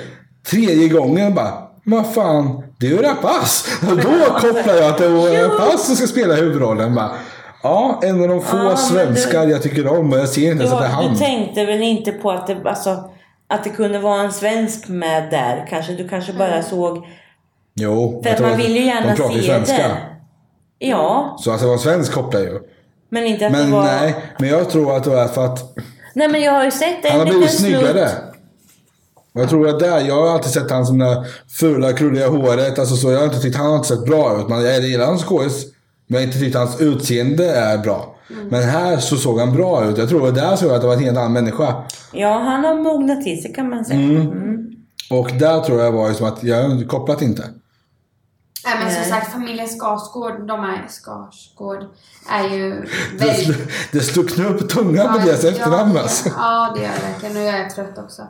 [SPEAKER 3] Tredje gången bara, vad fan, det är ju Rapace! Och då kopplade jag att det var Rapace som ska spela huvudrollen. Bara, ja, en av de få
[SPEAKER 1] Ja, men du-
[SPEAKER 3] svenskar jag tycker om och jag ser inte ens att det är
[SPEAKER 1] du,
[SPEAKER 3] han.
[SPEAKER 1] du tänkte väl inte på att det, alltså, att det kunde vara en svensk med där? Kanske, du kanske bara
[SPEAKER 2] Mm.
[SPEAKER 1] såg...
[SPEAKER 3] Jo,
[SPEAKER 1] För
[SPEAKER 3] jag
[SPEAKER 1] att
[SPEAKER 3] tror
[SPEAKER 1] man
[SPEAKER 3] att
[SPEAKER 1] vill ju gärna
[SPEAKER 3] de pratar ju
[SPEAKER 1] se
[SPEAKER 3] svenska.
[SPEAKER 1] det. Ja,
[SPEAKER 3] Så att det var en svensk kopplar ju.
[SPEAKER 1] men inte att
[SPEAKER 3] Men
[SPEAKER 1] det var...
[SPEAKER 3] nej, men jag tror att det var för att
[SPEAKER 1] Nej, men jag har ju sett en
[SPEAKER 3] Han har
[SPEAKER 1] liten
[SPEAKER 3] blivit
[SPEAKER 1] snutt.
[SPEAKER 3] snyggare. Och jag tror att där, jag har alltid sett han som det här fula krulliga håret. Alltså så, jag har inte tyckt han har inte sett bra ut. Man, jag gillar hans skådis. Men jag har inte tyckt hans utseende är bra.
[SPEAKER 1] Mm.
[SPEAKER 3] Men här så såg han bra ut. Jag tror att där såg jag att det var en helt annan människa.
[SPEAKER 1] Ja, han har mognat till sig kan man säga. Mm.
[SPEAKER 3] Och där tror jag var ju som att jag har kopplat inte.
[SPEAKER 2] Nej men som
[SPEAKER 1] Nej.
[SPEAKER 2] sagt familjen Skarsgård, de är Skarsgård är ju
[SPEAKER 3] Det,
[SPEAKER 2] väldigt...
[SPEAKER 3] sl- det stod knull på tungan på deras
[SPEAKER 2] Ja,
[SPEAKER 3] efternamn
[SPEAKER 2] ja,
[SPEAKER 3] alltså.
[SPEAKER 2] Ja, det gör jag verkligen. Och jag är trött också.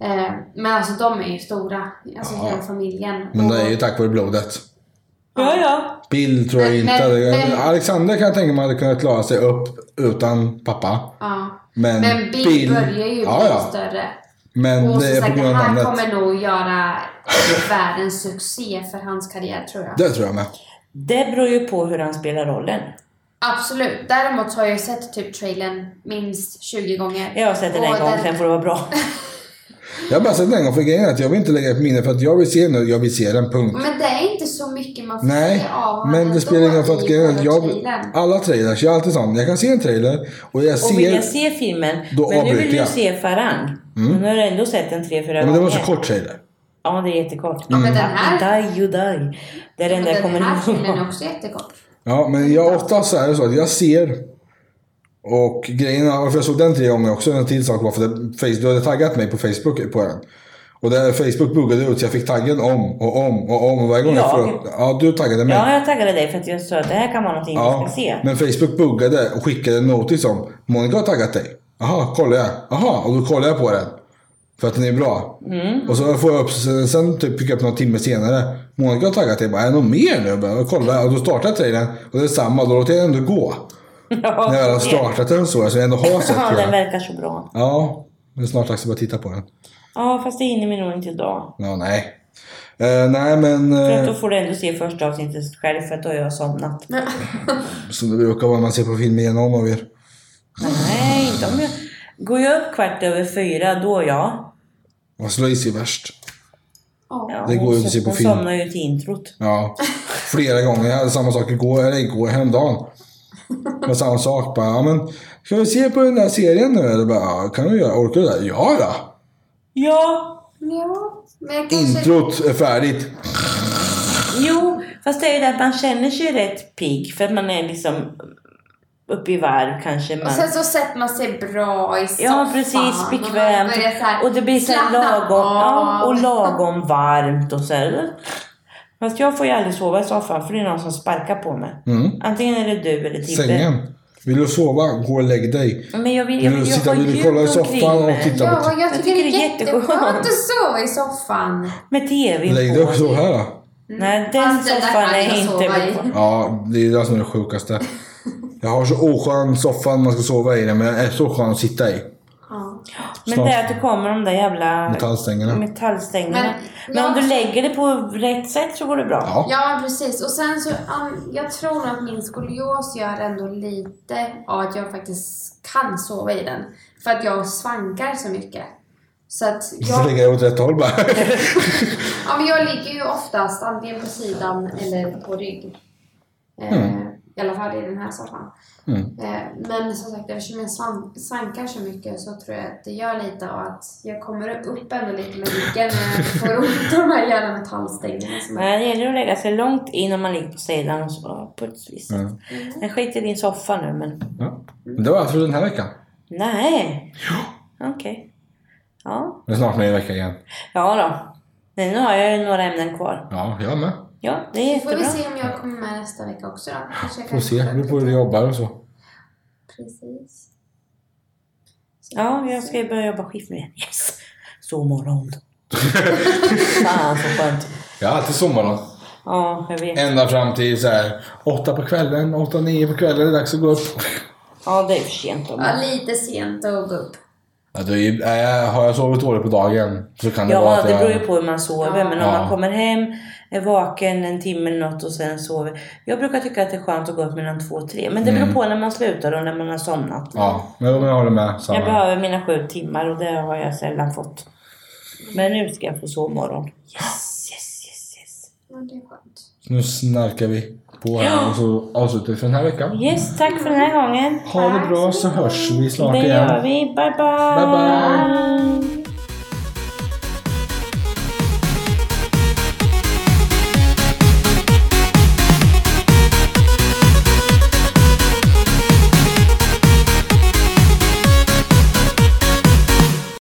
[SPEAKER 2] Eh, Men alltså de är ju stora. Alltså hela familjen.
[SPEAKER 3] Men det
[SPEAKER 2] Och-
[SPEAKER 3] är ju tack vare blodet.
[SPEAKER 1] Ja, ja.
[SPEAKER 3] Bill tror jag
[SPEAKER 2] Men-
[SPEAKER 3] inte
[SPEAKER 2] men-
[SPEAKER 3] hade...
[SPEAKER 2] men-
[SPEAKER 3] Alexander kan jag tänka mig hade kunnat klara sig upp utan pappa.
[SPEAKER 2] Ja.
[SPEAKER 3] Men,
[SPEAKER 2] Men Bill, börjar ju
[SPEAKER 3] ja,
[SPEAKER 2] bli
[SPEAKER 3] ja.
[SPEAKER 2] större.
[SPEAKER 3] Men
[SPEAKER 2] Och
[SPEAKER 3] det
[SPEAKER 2] som
[SPEAKER 3] är på
[SPEAKER 2] sagt,
[SPEAKER 3] grund av
[SPEAKER 2] han
[SPEAKER 3] namnet.
[SPEAKER 2] kommer nog göra världens succé för hans karriär tror jag.
[SPEAKER 3] Det tror jag med.
[SPEAKER 1] Det beror ju på hur han spelar rollen.
[SPEAKER 2] Absolut. Däremot så har jag ju sett typ trailern minst 20 gånger.
[SPEAKER 1] Jag har sett den
[SPEAKER 2] Och
[SPEAKER 1] en gång,
[SPEAKER 2] den-
[SPEAKER 1] sen får det vara bra.
[SPEAKER 3] Jag har bara sett den en gång för grejen är att jag vill inte lägga upp minne för att jag vill se nu, jag vill se den punkt.
[SPEAKER 2] Men det är inte så mycket man får
[SPEAKER 3] Nej,
[SPEAKER 2] se av honom
[SPEAKER 3] men
[SPEAKER 2] ändå
[SPEAKER 3] det spelar ingen roll för att
[SPEAKER 2] i
[SPEAKER 3] grejen är att jag,
[SPEAKER 2] trailern.
[SPEAKER 3] alla trailers, jag är alltid sån. Jag kan se en trailer och jag
[SPEAKER 1] Och vill
[SPEAKER 3] ser...
[SPEAKER 1] jag se filmen,
[SPEAKER 3] Då
[SPEAKER 1] men nu vill
[SPEAKER 3] avbryter
[SPEAKER 1] du
[SPEAKER 3] jag.
[SPEAKER 1] se
[SPEAKER 3] Mm.
[SPEAKER 1] Farang. Men nu har du ändå sett den tre, fyra
[SPEAKER 3] Ja, men
[SPEAKER 1] gånger.
[SPEAKER 3] det var så kort trailer.
[SPEAKER 1] Ja, det är jättekort.
[SPEAKER 2] Ja, men den här-
[SPEAKER 1] Die you die. Det är den där jag
[SPEAKER 2] Den här
[SPEAKER 1] kommer
[SPEAKER 2] filmen
[SPEAKER 1] ihåg.
[SPEAKER 2] är också jättekort.
[SPEAKER 3] Ja, men jag oftast så är det så att jag ser och grejen är, varför jag såg den tre gånger också, en till sak var för att Face- du hade taggat mig på Facebook på den. Och där Facebook buggade ut så jag fick taggen om och om och om och varje gång jag
[SPEAKER 1] Jag?
[SPEAKER 3] frågade... Ja, du taggade mig.
[SPEAKER 1] Ja, jag taggade dig för att jag sa att det här kan vara någonting jag ska se.
[SPEAKER 3] men Facebook buggade och skickade en notis om Monica har taggat dig. Jaha, kollar jag. Jaha, och då kollar jag på den. För att den är bra.
[SPEAKER 1] Mm.
[SPEAKER 3] Och så får jag upp, sen, sen typ fick jag upp någon timme senare. Monica har taggat dig. Jag Bara, är det något mer nu? Jag bara, och kollar och då startar jag trailern. Och det är samma, då låter jag den ändå gå.
[SPEAKER 1] Ja,
[SPEAKER 3] När jag har
[SPEAKER 1] det-
[SPEAKER 3] startat den så, så jag ändå har sett
[SPEAKER 1] Ja, den
[SPEAKER 3] trailern.
[SPEAKER 1] verkar så bra.
[SPEAKER 3] Ja, det är snart dags att bara titta på den.
[SPEAKER 1] Ja, fast det hinner vi nog inte idag.
[SPEAKER 3] Ja, nej. Eh, nej men,
[SPEAKER 1] För att
[SPEAKER 3] eh,
[SPEAKER 1] då får du ändå se första avsnittet själv för att då har jag somnat.
[SPEAKER 3] som det brukar vara när man ser på film igen om av er.
[SPEAKER 1] Nej, inte om jag... Går jag upp kvart över fyra, då ja.
[SPEAKER 3] Vad slöjs är värst.
[SPEAKER 2] Ja.
[SPEAKER 1] ja
[SPEAKER 3] Det går
[SPEAKER 1] hon
[SPEAKER 3] ju inte att se
[SPEAKER 1] som-
[SPEAKER 3] på
[SPEAKER 1] hon
[SPEAKER 3] film.
[SPEAKER 1] somnar ju till introt.
[SPEAKER 3] Ja, flera gånger. Jag hade samma sak igår, eller igår, häromdagen. Det var samma sak. Bara, ja, men, ska vi se på den där serien nu? Eller bara, ja, kan vi göra? Orkar du det? Ja då!
[SPEAKER 1] Ja,
[SPEAKER 2] Ja, men jag kanske...
[SPEAKER 3] Introt är färdigt.
[SPEAKER 1] jo. Fast det är ju det att man känner sig rätt pigg för att man är liksom uppe i varv kanske. Man...
[SPEAKER 2] Och sen så sätter man sig bra i soffan.
[SPEAKER 1] Ja, precis. Bekvämt.
[SPEAKER 2] Och, man börjar så här,
[SPEAKER 1] Och det blir så här
[SPEAKER 2] slappna
[SPEAKER 1] lagom, ja,
[SPEAKER 2] av.
[SPEAKER 1] och lagom varmt och så här. Fast jag får ju aldrig sova i soffan för det är någon som sparkar på mig.
[SPEAKER 3] Mm.
[SPEAKER 1] Antingen är det du eller Tibbe.
[SPEAKER 3] Sängen. Vill du sova? Gå och lägg dig.
[SPEAKER 1] Men jag vill, jag
[SPEAKER 3] Vill
[SPEAKER 1] vill
[SPEAKER 3] du
[SPEAKER 1] ju
[SPEAKER 3] sitta,
[SPEAKER 1] ha
[SPEAKER 3] vill du
[SPEAKER 1] ljud
[SPEAKER 3] kolla i
[SPEAKER 1] omkring
[SPEAKER 3] soffan och
[SPEAKER 1] mig.
[SPEAKER 3] titta på
[SPEAKER 2] Ja, jag tycker, det är jätteskönt att sova i soffan.
[SPEAKER 1] Med TV
[SPEAKER 3] Lägg dig
[SPEAKER 1] på.
[SPEAKER 3] och sov här då.
[SPEAKER 1] Nej, den
[SPEAKER 2] Fast den där
[SPEAKER 1] soffan
[SPEAKER 2] kan
[SPEAKER 1] är
[SPEAKER 2] jag
[SPEAKER 1] inte
[SPEAKER 2] sova i.
[SPEAKER 1] bra.
[SPEAKER 3] Ja, det är det som är det sjukaste. Jag har så oskön soffa när man ska sova i den, men den är så skön att sitta i.
[SPEAKER 2] Ja.
[SPEAKER 1] Men
[SPEAKER 3] Snart.
[SPEAKER 1] det är att det kommer de där jävla
[SPEAKER 3] Metallstängerna.
[SPEAKER 1] metallstängerna. Men,
[SPEAKER 2] Men- ja.
[SPEAKER 1] om du lägger det på rätt sätt så går det bra.
[SPEAKER 3] Ja.
[SPEAKER 2] ja, precis. Och sen så, um, jag tror nog att min skolios gör ändå lite av att jag faktiskt kan sova i den. För att jag svankar så mycket. Så att
[SPEAKER 3] Du får
[SPEAKER 2] jag,
[SPEAKER 3] lägga dig åt rätt håll bara.
[SPEAKER 2] ja, men jag ligger ju oftast antingen på sidan eller på rygg. Eh, I alla fall i den här soffan.
[SPEAKER 3] Mm.
[SPEAKER 2] Eh, Men som sagt, eftersom jag svan- svankar så mycket så tror jag att det gör lite av att jag kommer upp ändå lite med ryggen när jag får ont av de här jävla metallstängerna. som är-
[SPEAKER 1] Nej, det gäller att lägga sig långt in om man ligger på sidan och så på ett visst sätt.
[SPEAKER 3] Mm.
[SPEAKER 1] Men skit i din soffa nu men.
[SPEAKER 3] Ja. Det var allt för den här veckan.
[SPEAKER 1] Nej. Okej. Ja,
[SPEAKER 3] Det är snart med i vecka igen.
[SPEAKER 1] ja då. Nej, nu har jag ju några ämnen kvar.
[SPEAKER 3] Ja, jag med.
[SPEAKER 1] Ja, det är
[SPEAKER 2] Får vi
[SPEAKER 1] jättebra.
[SPEAKER 2] se om jag kommer med nästa vecka också då. Kanske jag
[SPEAKER 3] Får
[SPEAKER 2] kan-
[SPEAKER 3] se. Det beror på hur du jobbar och så.
[SPEAKER 2] Precis. Så
[SPEAKER 1] Ja, jag ska ju börja jobba skift nu igen. Yes! Sovmorgon. Fan så skönt.
[SPEAKER 3] Jag har alltid sommarlov.
[SPEAKER 1] Ja, jag vet.
[SPEAKER 3] Ända fram till så här, åtta på kvällen, åtta, nio på kvällen. Det är dags att gå upp.
[SPEAKER 1] Ja, det är för sent. Då.
[SPEAKER 2] Ja, lite sent att gå upp.
[SPEAKER 3] Ja, det är, ju- nej, har jag sovit dåligt på dagen så kan det vara
[SPEAKER 1] Ja,
[SPEAKER 3] att
[SPEAKER 1] det
[SPEAKER 3] jag...
[SPEAKER 1] beror ju på hur man sover. Men om
[SPEAKER 3] Ja.
[SPEAKER 1] man kommer hem, är vaken en timme eller något och sen sover. Jag brukar tycka att det är skönt att gå upp mellan två och tre. Men det beror på när man slutar och när man har somnat.
[SPEAKER 3] Mm. Ja, men jag håller med. Samma.
[SPEAKER 1] Jag behöver mina sju timmar och det har jag sällan fått. Men nu ska jag få sovmorgon. Yes, yes, yes, yes.
[SPEAKER 2] Ja, det är skönt.
[SPEAKER 3] Nu snarkar vi på här och så avslutar vi för den här veckan.
[SPEAKER 1] Yes, tack för den här gången.
[SPEAKER 3] Ha det bra så hörs vi snart
[SPEAKER 1] Det
[SPEAKER 3] igen.
[SPEAKER 1] gör vi. Bye, bye.
[SPEAKER 3] Bye, bye.
[SPEAKER 1] bye.